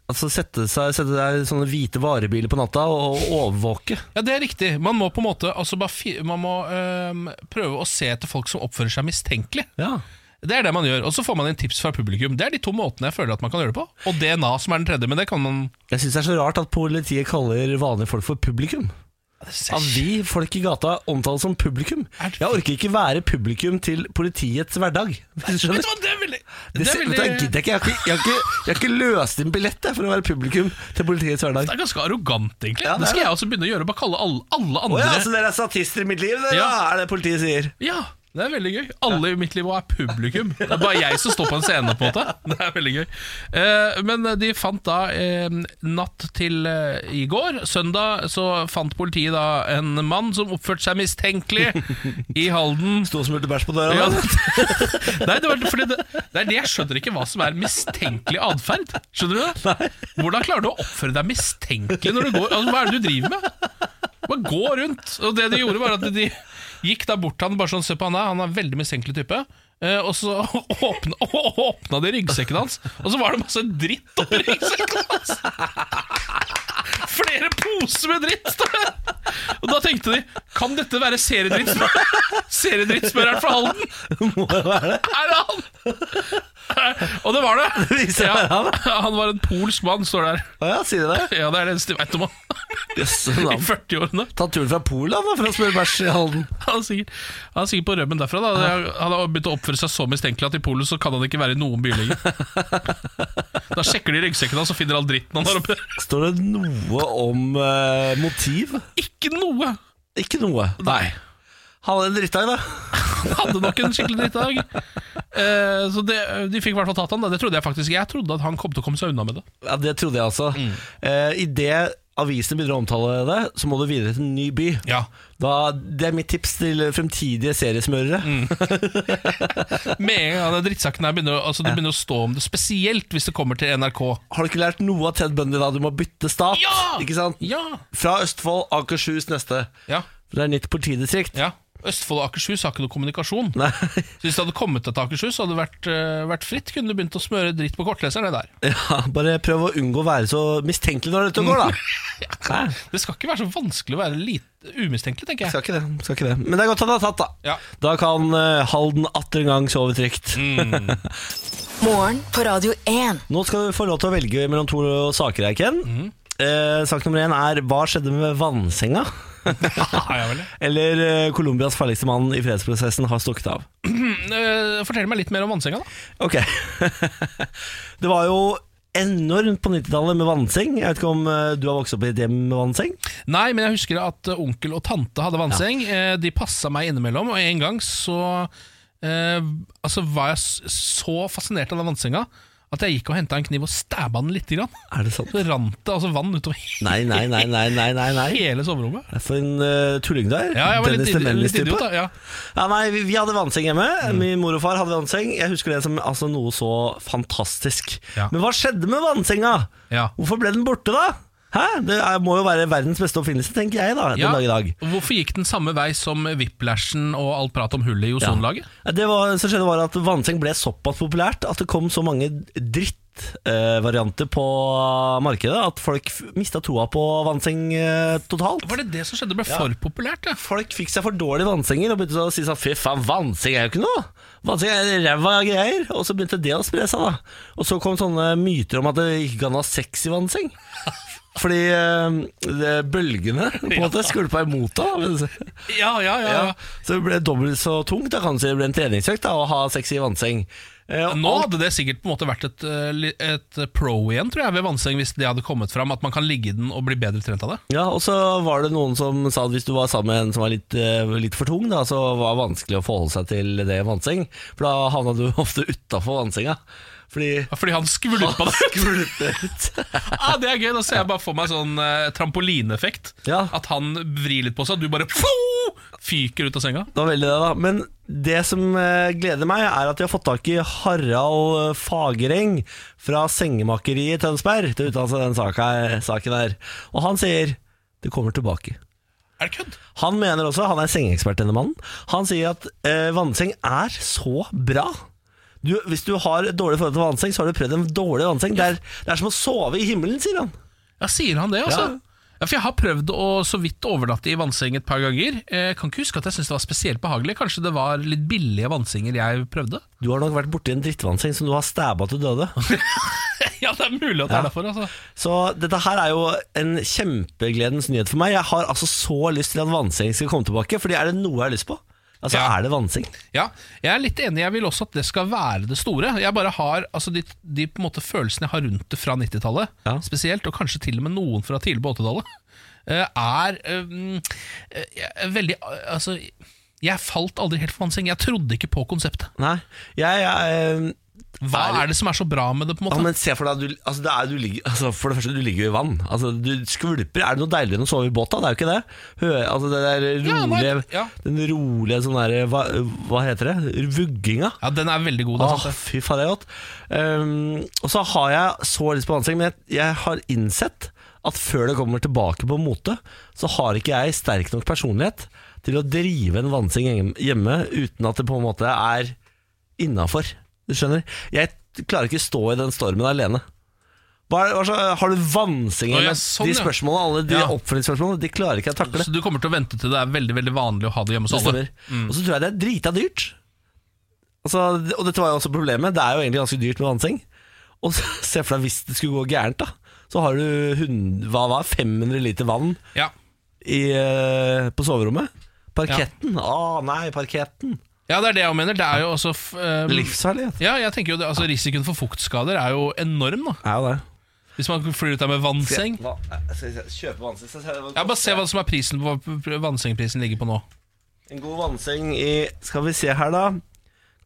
[SPEAKER 4] altså, sette, seg, sette deg i sånne hvite varebiler på natta og overvåke.
[SPEAKER 3] Ja, det er riktig. Man må på en måte altså bare fi, Man må eh, prøve å se etter folk som oppfører seg mistenkelig.
[SPEAKER 4] Ja.
[SPEAKER 3] Det er det man gjør, og så får man inn tips fra publikum. Det er de to måtene jeg føler at man kan gjøre det på. Og DNA, som er den tredje, men det kan man
[SPEAKER 4] Jeg syns det er så rart at politiet kaller vanlige folk for publikum. At vi folk i gata omtales som publikum.
[SPEAKER 3] Er det-
[SPEAKER 4] Jeg orker ikke være publikum til politiets hverdag. Hvis du
[SPEAKER 3] Vet
[SPEAKER 4] skjønner?
[SPEAKER 3] du hva, det er veldig
[SPEAKER 4] Det,
[SPEAKER 3] det er,
[SPEAKER 4] ser- vet du,
[SPEAKER 3] veldig,
[SPEAKER 4] jeg gidder ikke. Jeg har ikke, jeg har ikke, jeg har ikke løst inn billett jeg, for å være publikum til politiets hverdag.
[SPEAKER 3] det er ganske arrogant, egentlig.
[SPEAKER 4] Ja, det er
[SPEAKER 3] det, skal
[SPEAKER 4] det.
[SPEAKER 3] jeg også begynne å gjøre, bare kalle alle, alle
[SPEAKER 4] Å
[SPEAKER 3] andre
[SPEAKER 4] ja, altså- så dere er statister i mitt liv, dere,
[SPEAKER 3] Ja.
[SPEAKER 4] da, er det politiet sier.
[SPEAKER 3] Ja, det er veldig gøy. Alle i mitt liv er publikum. Det er bare jeg som står på en scene, på en måte. Det er veldig gøy. Eh, men de fant da eh, natt til eh, i går, søndag, så fant politiet da en mann som oppførte seg mistenkelig i Halden.
[SPEAKER 4] Sto og smurte bæsj på døra.
[SPEAKER 3] Ja,
[SPEAKER 4] da.
[SPEAKER 3] det, nei, det, var, fordi det, det er det jeg skjønner ikke hva som er mistenkelig atferd. Skjønner du det? Hvordan klarer du å oppføre deg mistenkelig når du går altså, Hva er det du driver med? Bare gå rundt. Og det de gjorde, var at de gikk da bort til han bare sånn Se på han der, han er en veldig mistenkelig type. Eh, og så åpna, åpna de ryggsekken hans, og så var det masse dritt oppi ryggsekken hans! Flere poser med dritt! står det. Og da tenkte de Kan dette være seriedrittsmør- seriedrittsmøreren fra Halden?
[SPEAKER 4] Må det være det?
[SPEAKER 3] Er det han? Og det var det.
[SPEAKER 4] viser seg å være
[SPEAKER 3] Ja, han var en polsk mann, står det her.
[SPEAKER 4] Å ja, sier de det?
[SPEAKER 3] Ja, det er det eneste jeg veit om han.
[SPEAKER 4] Jøsse
[SPEAKER 3] I
[SPEAKER 4] navn.
[SPEAKER 3] 40-årene.
[SPEAKER 4] Ta turen fra Polen da, for å smøre bæsj i Halden.
[SPEAKER 3] Han, er sikkert- han er sikkert på rømmen derfra. da Han har begynt å oppføre seg så mistenkelig at i Polen så kan han ikke være i noen by lenger. Da sjekker de ryggsekken hans og finner all dritten han har oppi der.
[SPEAKER 4] Står det noe om eh, motiv?
[SPEAKER 3] Ikke noe!
[SPEAKER 4] Ikke noe.
[SPEAKER 3] Nei.
[SPEAKER 4] Han er en drittdag, da.
[SPEAKER 3] Han hadde nok en skikkelig drittdag. Eh, så det, de fikk i hvert fall tatt han da. Det trodde jeg faktisk. Jeg trodde at han kom til å komme seg unna med det.
[SPEAKER 4] Ja, det trodde jeg altså. Eh, I det avisene begynner å omtale det, så må du videre til en ny by.
[SPEAKER 3] Ja.
[SPEAKER 4] Da, det er mitt tips til fremtidige seriesmørere.
[SPEAKER 3] Med en gang den drittsaken her begynner, å- altså, det begynner å stå om det, spesielt hvis det kommer til NRK.
[SPEAKER 4] Har du ikke lært noe av Ted Bundy da? Du må bytte stat.
[SPEAKER 3] Ja!
[SPEAKER 4] Ikke sant?
[SPEAKER 3] Ja.
[SPEAKER 4] Fra Østfold, Akershus neste.
[SPEAKER 3] Ja,
[SPEAKER 4] For Det er nytt politidistrikt.
[SPEAKER 3] ja. Østfold og Akershus har ikke noe kommunikasjon.
[SPEAKER 4] Nei,
[SPEAKER 3] Så Hvis det hadde kommet til Akershus, hadde det vært, eh, vært fritt. Kunne du begynt å smøre dritt på kortleseren? Det, der.
[SPEAKER 4] ja, bare prøv å unngå å være så mistenkelig når dette går, da. Hæ?
[SPEAKER 3] det skal ikke være så vanskelig å være lite umistenkelig, tenker jeg.
[SPEAKER 4] Skal ikke det. skal ikke det Men det er godt at det er tatt, da.
[SPEAKER 3] Ja.
[SPEAKER 4] Da kan eh, Halden atter en gang sove trygt.
[SPEAKER 5] Morgen på Radio 1.
[SPEAKER 4] Nå skal du få lov til å velge mellom to saker her, Ken. Eh, sak nummer én er hva skjedde med vannsenga?
[SPEAKER 3] Ja, ja, vel.
[SPEAKER 4] Eller eh, Colombias farligste mann i fredsprosessen har stukket av.
[SPEAKER 3] Eh, Fortell meg litt mer om vannsenga, da.
[SPEAKER 4] Ok. det var jo enormt på 90-tallet med vannseng. Jeg vet ikke om eh, du har vokst opp i et hjem med vannseng?
[SPEAKER 3] Nei, men jeg husker at eh, onkel og tante hadde vannseng. Eh, De passa meg innimellom, og en gang så eh, altså var jeg s- så fascinert av den vannsenga at jeg gikk og henta en kniv og stabba den lite grann.
[SPEAKER 4] Er det sant?
[SPEAKER 3] Så rant det altså vann utover he-
[SPEAKER 4] Nei, nei, nei, nei, nei, nei. nei.
[SPEAKER 3] hele soverommet.
[SPEAKER 4] For en eh, tulling du er.
[SPEAKER 3] Ja, jeg var
[SPEAKER 4] Dennis
[SPEAKER 3] litt,
[SPEAKER 4] the
[SPEAKER 3] id- litt
[SPEAKER 4] Menace-type.
[SPEAKER 3] idiot, da. Ja. Mm.
[SPEAKER 4] Ja, nei, vi, vi hadde vannseng hjemme. Min mor og far hadde vannseng. Jeg husker det som altså, noe så fantastisk.
[SPEAKER 3] Ja.
[SPEAKER 4] Men hva skjedde med vannsenga?
[SPEAKER 3] Ja.
[SPEAKER 4] Hvorfor ble den borte, da? Hæ? Det er, må jo være verdens beste oppfinnelse, tenker jeg, da,
[SPEAKER 3] Ja,
[SPEAKER 4] den dag i dag.
[SPEAKER 3] Hvorfor gikk den samme vei som whiplashen og alt prat om hullet i ozonlaget?
[SPEAKER 4] Ja, Det var, som skjedde var at vannseng ble såpass populært at det kom så mange drittvarianter på markedet at folk mista troa på vannseng eh, totalt.
[SPEAKER 3] Var det det som skjedde? Det ble for populært, ja.
[SPEAKER 4] Folk fikk seg for dårlige vannsenger og begynte så å si sånn Fy faen, vannseng er jo ikke noe! Vannseng er ræva greier! Og så begynte det å spre seg, da. Og så kom sånne myter om at det ikke kan ha sex i vannseng. Fordi eh, det, bølgene på en måte skvulpa imot deg. da.
[SPEAKER 3] Ja, ja, ja.
[SPEAKER 4] Ja. Så det ble dobbelt så tungt. Da kan du si det ble en treningsøkt da, å ha sex i vannseng. Eh, og
[SPEAKER 3] Nå hadde det sikkert på en måte vært et, eh, li- et pro igjen tror jeg, ved vannseng hvis det hadde kommet fram, at man kan ligge i den og bli bedre trent av det.
[SPEAKER 4] Ja, og så var det noen som sa at hvis du var sammen med en som var litt, eh, litt for tung, da, så var det vanskelig å forholde seg til det i vannseng. For da havna du ofte utafor vannsenga. Fordi
[SPEAKER 3] Ja, Fordi han skvulpa det ut!
[SPEAKER 4] skvulpte ut.
[SPEAKER 3] Ah, det er gøy! Da ser jeg bare for meg sånn eh, trampolineffekt.
[SPEAKER 4] Ja.
[SPEAKER 3] At han vrir litt på seg, og du bare fo! Fyker ut av senga.
[SPEAKER 4] Det var veldig det, da. Men det som eh, gleder meg, er at de har fått tak i Harald eh, Fagereng fra Sengemakeriet i Tønsberg til å uttale seg i den saka, saken her. Og han sier det kommer tilbake.
[SPEAKER 3] Er det kødd?
[SPEAKER 4] Han mener også, han er sengeekspert denne mannen Han sier at eh, vannseng er så bra du, Hvis du har et dårlig forhold til vannseng Så har du prøvd en dårlig vannseng det, er, det er som å sove i himmelen, sier han
[SPEAKER 3] Ja, sier han det, altså?
[SPEAKER 4] Ja.
[SPEAKER 3] Ja. for Jeg har prøvd å så vidt overnatte i vannseng et par ganger. Jeg kan ikke huske at jeg syntes det var spesielt behagelig. Kanskje det var litt billige vannsenger jeg prøvde?
[SPEAKER 4] Du har nok vært borte i en drittvannseng Som du har stabba til døde
[SPEAKER 3] ja, det er mulig at det er derfor, altså.
[SPEAKER 4] Så dette her er jo en kjempegledens nyhet for meg Jeg har altså så lyst til at vannseng skal komme tilbake Fordi er det noe jeg har lyst på? Altså
[SPEAKER 3] Ja.
[SPEAKER 4] er det vannseng?
[SPEAKER 3] Ja, jeg er litt enig. Jeg vil også at det skal være det store. Jeg bare har altså, de, de på en måte følelsene jeg har rundt det fra 90-tallet,
[SPEAKER 4] Ja.
[SPEAKER 3] spesielt, og kanskje til og med noen fra tidlig på 80-tallet, eh, er eh, mm, eh, jeg er veldig eh, Altså, jeg falt aldri helt for vannseng. Jeg trodde ikke på konseptet.
[SPEAKER 4] Nei jeg, jeg, eh,
[SPEAKER 3] Hva
[SPEAKER 4] Er-
[SPEAKER 3] er det som er så bra med det, på en
[SPEAKER 4] Ja,
[SPEAKER 3] måte?
[SPEAKER 4] men se for deg at du, altså det er, du ligger, altså For det første, du ligger jo i vann. Altså Du skvulper. Er det noe deiligere enn å sove i båt? da? Det er jo ikke det. Hø, altså det der
[SPEAKER 3] Ja, nei,
[SPEAKER 4] rolige
[SPEAKER 3] ja.
[SPEAKER 4] Den rolige sånn derre hva, hva heter det? Vugginga.
[SPEAKER 3] Ja, den er veldig god. Det, er
[SPEAKER 4] Åh,
[SPEAKER 3] sant det.
[SPEAKER 4] fy faen, det er godt. Um, og så har jeg så lyst på vannseng, men jeg, jeg har innsett at før det kommer tilbake på mote, så har ikke jeg sterk nok personlighet til å drive en vannseng hjem- hjemme uten at det på en måte er innafor. Du skjønner? Jeg klarer ikke stå i den stormen alene. Hva er, hva så, har du vannseng?
[SPEAKER 3] Å, ja,
[SPEAKER 4] hjemme?
[SPEAKER 3] sånn,
[SPEAKER 4] de
[SPEAKER 3] ja.
[SPEAKER 4] spørsmålene, alle de
[SPEAKER 3] Ja.
[SPEAKER 4] oppfølgingsspørsmålene, de klarer ikke jeg å takle.
[SPEAKER 3] Så du kommer til å vente til det er veldig veldig vanlig å ha det hjemme hos
[SPEAKER 4] Det
[SPEAKER 3] alle? Mm.
[SPEAKER 4] stemmer. Og så tror jeg det er drita dyrt. Altså, og dette var jo også problemet. Det er jo egentlig ganske dyrt med vannseng. Og så, se for deg hvis det skulle gå gærent, da. Så har du 100, hva var, det, 500 liter vann
[SPEAKER 3] Ja.
[SPEAKER 4] i, eh, på soverommet. Parketten. Å nei, parketten.
[SPEAKER 3] ja, det er det jeg mener. Det er jo også f- eh,
[SPEAKER 4] Livsfarlig. vet du.
[SPEAKER 3] ja, jeg tenker jo det, altså Risikoen for fuktskader er jo enorm, da.
[SPEAKER 4] Er jo det.
[SPEAKER 3] Hvis man flyr ut der med vannseng.
[SPEAKER 4] Hva, skal vi se, kjøpe vannseng skal vi se hva det
[SPEAKER 3] Ja, Bare se hva
[SPEAKER 4] koster.
[SPEAKER 3] som er prisen på hva vannsengprisen ligger på nå.
[SPEAKER 4] En god vannseng i Skal vi se her, da.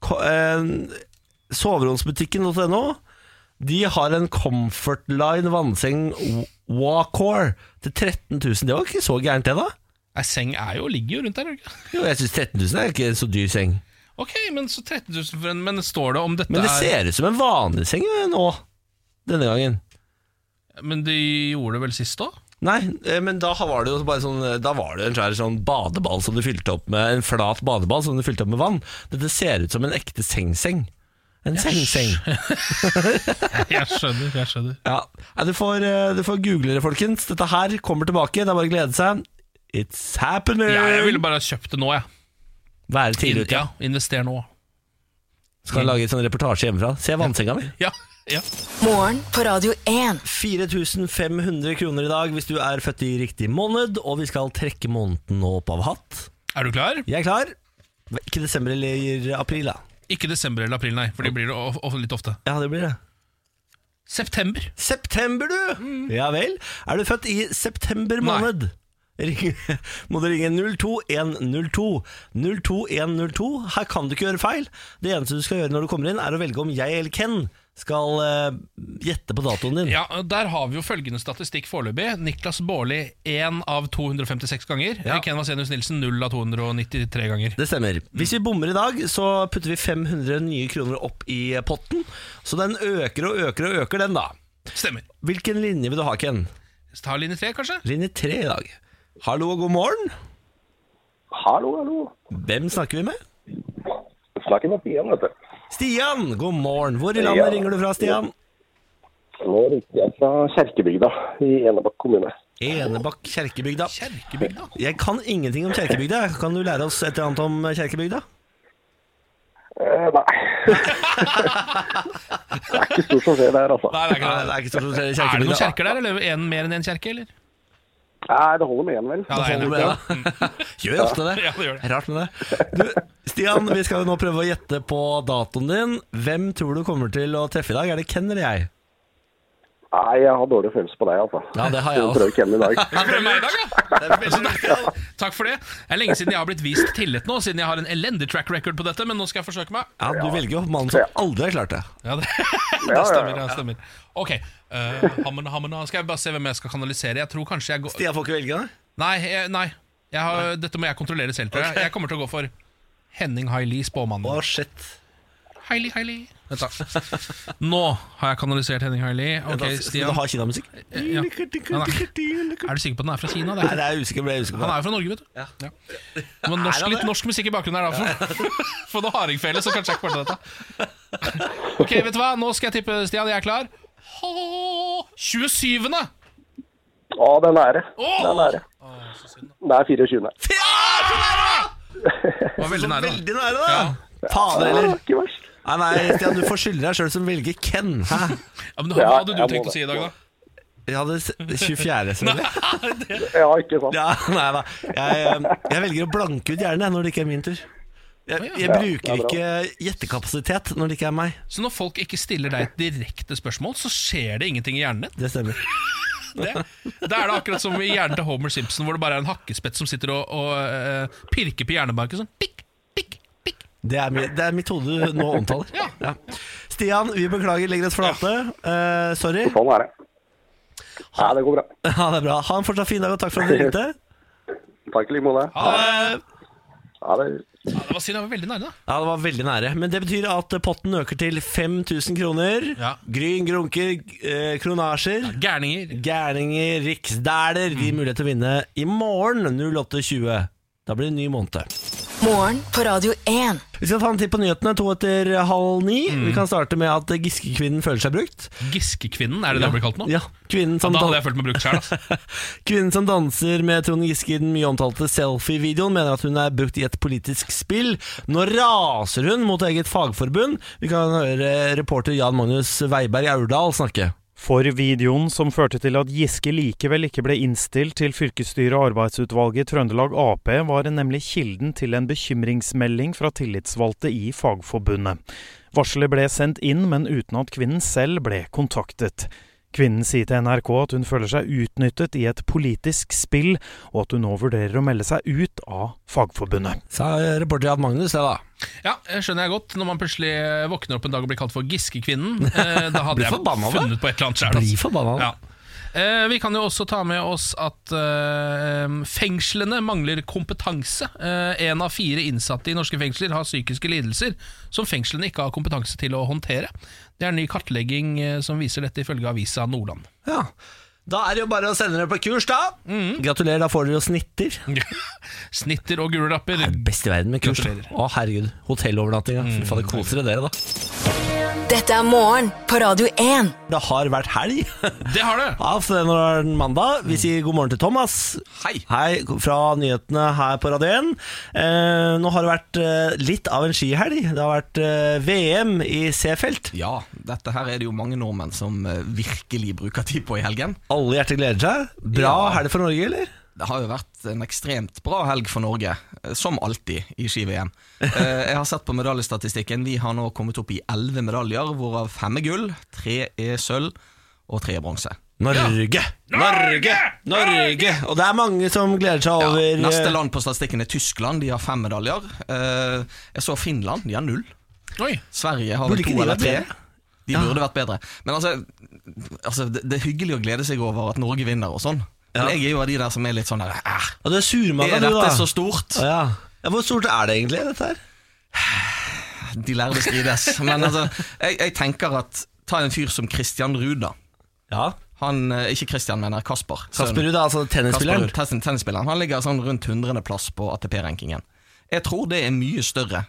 [SPEAKER 4] Ko- eh, Soveromsbutikken.no. De har en Comfortline vannseng w- Wacore til 13 000. Det var ikke så gærent, det, da?
[SPEAKER 3] Nei, Seng er jo, ligger jo rundt der. ikke?
[SPEAKER 4] Jo, jeg syns 13 000 er ikke en så dyr seng.
[SPEAKER 3] Ok, men så 13 000 for en Men står det om dette
[SPEAKER 4] Men det
[SPEAKER 3] er
[SPEAKER 4] ser ut som en vanlig seng eh, nå. Denne gangen.
[SPEAKER 3] Men de gjorde det vel sist òg?
[SPEAKER 4] Nei, eh, men da var det jo bare sånn eh, Da var det jo en svær sånn badeball som du fylte opp med En flat badeball som du fylte opp med vann. Dette ser ut som en ekte sengseng. En sengseng.
[SPEAKER 3] Jeg skjønner. jeg skjønner
[SPEAKER 4] Ja, Nei, du, får, eh, du får google det, folkens. Dette her kommer tilbake. Det er bare å glede seg. It's happening!
[SPEAKER 3] ja, Jeg ville bare ha kjøpt det nå, jeg.
[SPEAKER 4] Være
[SPEAKER 3] In,
[SPEAKER 4] tidlig ute.
[SPEAKER 3] ja, Invester nå.
[SPEAKER 4] Skal jeg lage en sånn reportasje hjemmefra. Se vannsenga mi.
[SPEAKER 3] Ja, ja.
[SPEAKER 5] Morgen på Radio 1.
[SPEAKER 4] 4500 kroner i dag hvis du er født i riktig måned, og vi skal trekke måneden nå opp av hatt.
[SPEAKER 3] Er du klar?
[SPEAKER 4] Jeg er klar. Ikke desember eller april, da.
[SPEAKER 3] Ikke desember eller april, nei. For det blir det of- of- litt ofte.
[SPEAKER 4] Ja, det blir det.
[SPEAKER 3] September.
[SPEAKER 4] September, du! Ja vel. Er du født i september
[SPEAKER 3] Mm. Nei.
[SPEAKER 4] måned? Ring, må du ringe 02102. 02102. Her kan du ikke gjøre feil. Det eneste du skal gjøre når du kommer inn, er å velge om jeg eller Ken skal eh, gjette på datoen din.
[SPEAKER 3] Ja, Der har vi jo følgende statistikk foreløpig. Niklas Baarli én av 256 ganger.
[SPEAKER 4] Ja.
[SPEAKER 3] Ken Vasenius Nilsen null av 293 ganger.
[SPEAKER 4] Det stemmer. Hvis vi bommer i dag, så putter vi 500 nye kroner opp i potten. Så den øker og øker og øker, den da.
[SPEAKER 3] Stemmer.
[SPEAKER 4] Hvilken linje vil du ha, Ken?
[SPEAKER 3] Ta linje tre, kanskje?
[SPEAKER 4] Linje tre i dag. Hallo og god morgen.
[SPEAKER 7] Hallo, hallo.
[SPEAKER 4] Hvem snakker vi med?
[SPEAKER 7] Snakker med Stian, vet du.
[SPEAKER 4] Stian, god morgen. Hvor i landet
[SPEAKER 7] Ja.
[SPEAKER 4] ringer du fra, Stian?
[SPEAKER 7] Nå ringer jeg fra Kjerkebygda i Enebakk kommune.
[SPEAKER 4] Enebakk kjerkebygda.
[SPEAKER 3] Kjerkebygda.
[SPEAKER 4] Jeg kan ingenting om kjerkebygda. Kan du lære oss et eller annet om kjerkebygda?
[SPEAKER 7] Eh, nei. det er ikke stort som skjer der, altså.
[SPEAKER 3] Nei, det er ikke
[SPEAKER 4] Nei,
[SPEAKER 3] det.
[SPEAKER 4] det er ikke stort som skjer i
[SPEAKER 3] Er det noen
[SPEAKER 4] kjerkebygda.
[SPEAKER 3] kjerker der, eller en, mer enn én kjerke? eller?
[SPEAKER 7] Nei, det holder med én, vel.
[SPEAKER 3] Ja, det er
[SPEAKER 4] Holder
[SPEAKER 3] en,
[SPEAKER 4] med det.
[SPEAKER 3] Mm.
[SPEAKER 4] Gjør ofte det.
[SPEAKER 3] Ja, det gjør det.
[SPEAKER 4] Rart med det. Du, Stian, vi skal jo nå prøve å gjette på datoen din. Hvem tror du kommer til å treffe i dag? Er det Ken eller jeg?
[SPEAKER 7] Nei, jeg har dårlig følelse på deg, altså.
[SPEAKER 4] Ja, det har jeg
[SPEAKER 7] Så
[SPEAKER 4] også.
[SPEAKER 7] prøver Ken i dag.
[SPEAKER 3] Skal vi prøve meg i dag, da? Takk for det. Det er lenge siden jeg har blitt vist tillit nå, siden jeg har en elendig track record på dette, men nå skal jeg forsøke meg.
[SPEAKER 4] Ja, du velger jo mannen som aldri har klart det.
[SPEAKER 3] Ja, det, det stemmer. det stemmer Ok, eh, hammen, hammen, nå skal jeg bare se hvem jeg skal kanalisere. Jeg tror kanskje jeg går
[SPEAKER 4] Stian får ikke velge, nei?
[SPEAKER 3] Nei, jeg, nei. Jeg har, dette må jeg kontrollere selv, tror jeg. Jeg kommer til å gå for Henning Haili, spåmannen.
[SPEAKER 8] Å, shit.
[SPEAKER 3] Haili, Haili. Vent, da. Nå har jeg kanalisert Henning Haili. Ok,
[SPEAKER 4] Skal- Skal
[SPEAKER 3] Stian. Eh,
[SPEAKER 4] du ha kinamusikk?
[SPEAKER 3] Ja. Er du sikker på at den er fra Kina? Det
[SPEAKER 4] Nei,
[SPEAKER 3] er
[SPEAKER 4] det er jeg usikker, ble jeg usikker på.
[SPEAKER 3] han er jo fra Norge, vet du. Ja. Det var norsk,
[SPEAKER 4] han
[SPEAKER 3] litt
[SPEAKER 4] det?
[SPEAKER 3] norsk musikk i bakgrunnen her, da. For, for noe hardingfele, så kanskje jeg ikke klarte dette. Ok, vet du hva? Nå skal jeg tippe, Stian. Jeg er klar. Åh, 27.
[SPEAKER 7] Å, det er nære.
[SPEAKER 3] Åh!
[SPEAKER 7] Det er nære. Det er 24.
[SPEAKER 3] Var veldig nære, da.
[SPEAKER 4] Veldig nære, da! Fader,
[SPEAKER 7] Det
[SPEAKER 4] eller?
[SPEAKER 7] var Ah, ikke verst.
[SPEAKER 4] Nei, Ah, nei, Stian, du får skylde deg sjøl som velger Ken. Hæ?
[SPEAKER 3] Ja, men, hva hadde du
[SPEAKER 7] jeg må
[SPEAKER 3] tenkt å
[SPEAKER 7] det.
[SPEAKER 3] si i dag, da?
[SPEAKER 4] Jeg hadde s- 24, selvfølgelig.
[SPEAKER 7] Ja, ikke sant.
[SPEAKER 4] Ja, nei da. Jeg, eh, jeg velger å blanke ut hjernen jeg, når det ikke er min tur. Jeg, jeg bruker ikke gjettekapasitet når det ikke er meg.
[SPEAKER 3] Så når folk ikke stiller deg et direkte spørsmål, så skjer det ingenting i hjernen din.
[SPEAKER 4] Det stemmer.
[SPEAKER 3] Det, da er det akkurat som i hjernen til Homer Simpson, hvor det bare er en hakkespett som sitter og, og eh, pirker på hjernebarken sånn. Tikk, tikk, tikk.
[SPEAKER 4] Det er, mi- det er mitt hode du nå omtaler.
[SPEAKER 3] Ja.
[SPEAKER 4] Stian, vi beklager, legger oss flate. Eh, sorry.
[SPEAKER 7] Sånn er det. Ja, det går bra.
[SPEAKER 4] Ha det bra. Ha en fortsatt fin dag, og takk for at du ringte.
[SPEAKER 7] Takk i like måte.
[SPEAKER 4] Eh,
[SPEAKER 7] Ha det.
[SPEAKER 3] Ja, det var synd, jeg var veldig nære, da.
[SPEAKER 4] Ja, det var veldig nære. Men det betyr at potten øker til 5000 kroner.
[SPEAKER 3] Ja.
[SPEAKER 4] Gryn, grunker, eh, kronasjer.
[SPEAKER 3] Gærninger.
[SPEAKER 4] Gærninger, riksdæler. Vi
[SPEAKER 3] Mm.
[SPEAKER 4] har mulighet til å vinne i morgen 08.20. Da blir det en ny måned.
[SPEAKER 5] Morgen på Radio 1.
[SPEAKER 4] Vi skal ta en titt på nyhetene to etter halv ni.
[SPEAKER 3] Mm.
[SPEAKER 4] Vi kan starte med at Giske-kvinnen føler seg brukt.
[SPEAKER 3] Giskekvinnen, er det det det blir kalt nå?
[SPEAKER 4] Ja, kvinnen som,
[SPEAKER 3] Da hadde
[SPEAKER 4] dan
[SPEAKER 3] jeg følt meg brukt sjøl, altså.
[SPEAKER 4] kvinnen som danser med Trond Giske i den mye omtalte selfie-videoen, mener at hun er brukt i et politisk spill. Nå raser hun mot eget fagforbund. Vi kan høre reporter Jan Magnus Weiberg Aurdal snakke.
[SPEAKER 9] For videoen som førte til at Giske likevel ikke ble innstilt til fylkesstyret og arbeidsutvalget i Trøndelag Ap, var nemlig kilden til en bekymringsmelding fra tillitsvalgte i Fagforbundet. Varselet ble sendt inn, men uten at kvinnen selv ble kontaktet. Kvinnen sier til NRK at hun føler seg utnyttet i et politisk spill, og at hun nå vurderer å melde seg ut av Fagforbundet.
[SPEAKER 4] Sa reporter Jan Magnus det, da.
[SPEAKER 3] Ja, jeg skjønner jeg godt. Når man plutselig våkner opp en dag og blir kalt for Giskekvinnen, eh, da hadde
[SPEAKER 4] Blir
[SPEAKER 3] jeg
[SPEAKER 4] forbanna, da.
[SPEAKER 3] funnet på et eller annet sjøl.
[SPEAKER 4] Blir forbanna.
[SPEAKER 3] Ja. Eh, vi kan jo også ta med oss at eh, fengslene mangler kompetanse. Én av fire innsatte i norske fengsler har psykiske lidelser som fengslene ikke har kompetanse til å håndtere. Det er en ny kartlegging eh, som viser dette, ifølge avisa Nordland.
[SPEAKER 4] Ja. Da er det jo bare å sende dere på kurs, da.
[SPEAKER 8] Mm.
[SPEAKER 4] Gratulerer, da får dere jo snitter.
[SPEAKER 3] Snitter og gule rapper.
[SPEAKER 4] Det er best i verden med kurs.
[SPEAKER 3] Gratulerer.
[SPEAKER 4] Å, herregud. Hotellovernatting,
[SPEAKER 8] Mm.
[SPEAKER 4] ja. Fy fader, koser dere, dere, da.
[SPEAKER 5] Dette er morgen på Radio 1.
[SPEAKER 4] Det har vært helg.
[SPEAKER 3] Det har det!
[SPEAKER 4] Ja, for nå er det mandag. Vi sier god morgen til Thomas.
[SPEAKER 1] Hei.
[SPEAKER 4] Hei, fra nyhetene her på Radio 1. Eh, nå har det vært eh, litt av en skihelg. Det har vært eh, VM i C-felt.
[SPEAKER 8] Ja, dette her er det jo mange nordmenn som eh, virkelig bruker tid på i helgen.
[SPEAKER 4] Alle hjerter gleder seg. Bra
[SPEAKER 8] Ja.
[SPEAKER 4] helg for Norge, eller?
[SPEAKER 8] Det har jo vært en ekstremt bra helg for Norge, eh, som alltid i ski-VM. Eh, Jeg har sett på medaljestatistikken. Vi har nå kommet opp i elleve medaljer, hvorav fem er gull, tre er sølv og tre er bronse.
[SPEAKER 4] Norge! Norge! Norge! Og det er mange som gleder seg
[SPEAKER 8] Ja,
[SPEAKER 4] over eh,
[SPEAKER 8] neste land på statistikken er Tyskland, de har fem medaljer. Eh, Jeg så Finland, de har null.
[SPEAKER 3] Oi,
[SPEAKER 8] Sverige har
[SPEAKER 4] Burde
[SPEAKER 8] vel
[SPEAKER 4] ikke
[SPEAKER 8] to
[SPEAKER 4] de
[SPEAKER 8] eller
[SPEAKER 4] vært
[SPEAKER 8] tre.
[SPEAKER 4] bedre?
[SPEAKER 8] De burde vært bedre. Men altså, altså det, det er hyggelig å glede seg over at Norge vinner og sånn. Men jeg er jo av de der som er litt sånn der "Æh,
[SPEAKER 4] Og det er surmaga,
[SPEAKER 8] Er
[SPEAKER 4] du, da.
[SPEAKER 8] dette så stort?
[SPEAKER 4] Å, ja. ja, Hvor stort er det egentlig, dette her?
[SPEAKER 8] De lærde strides. Men altså, jeg, jeg tenker at ta en fyr som Christian Ruud, da.
[SPEAKER 4] Ja.
[SPEAKER 8] Han, eh, ikke Christian, mener Kasper. Sønnen.
[SPEAKER 4] Kasper Ruud, altså
[SPEAKER 8] Kasper
[SPEAKER 4] tennisspilleren.
[SPEAKER 8] Ruud, tennis- tennisspilleren. Han ligger sånn rundt 100. plass på ATP-rankingen. Jeg tror det er en mye større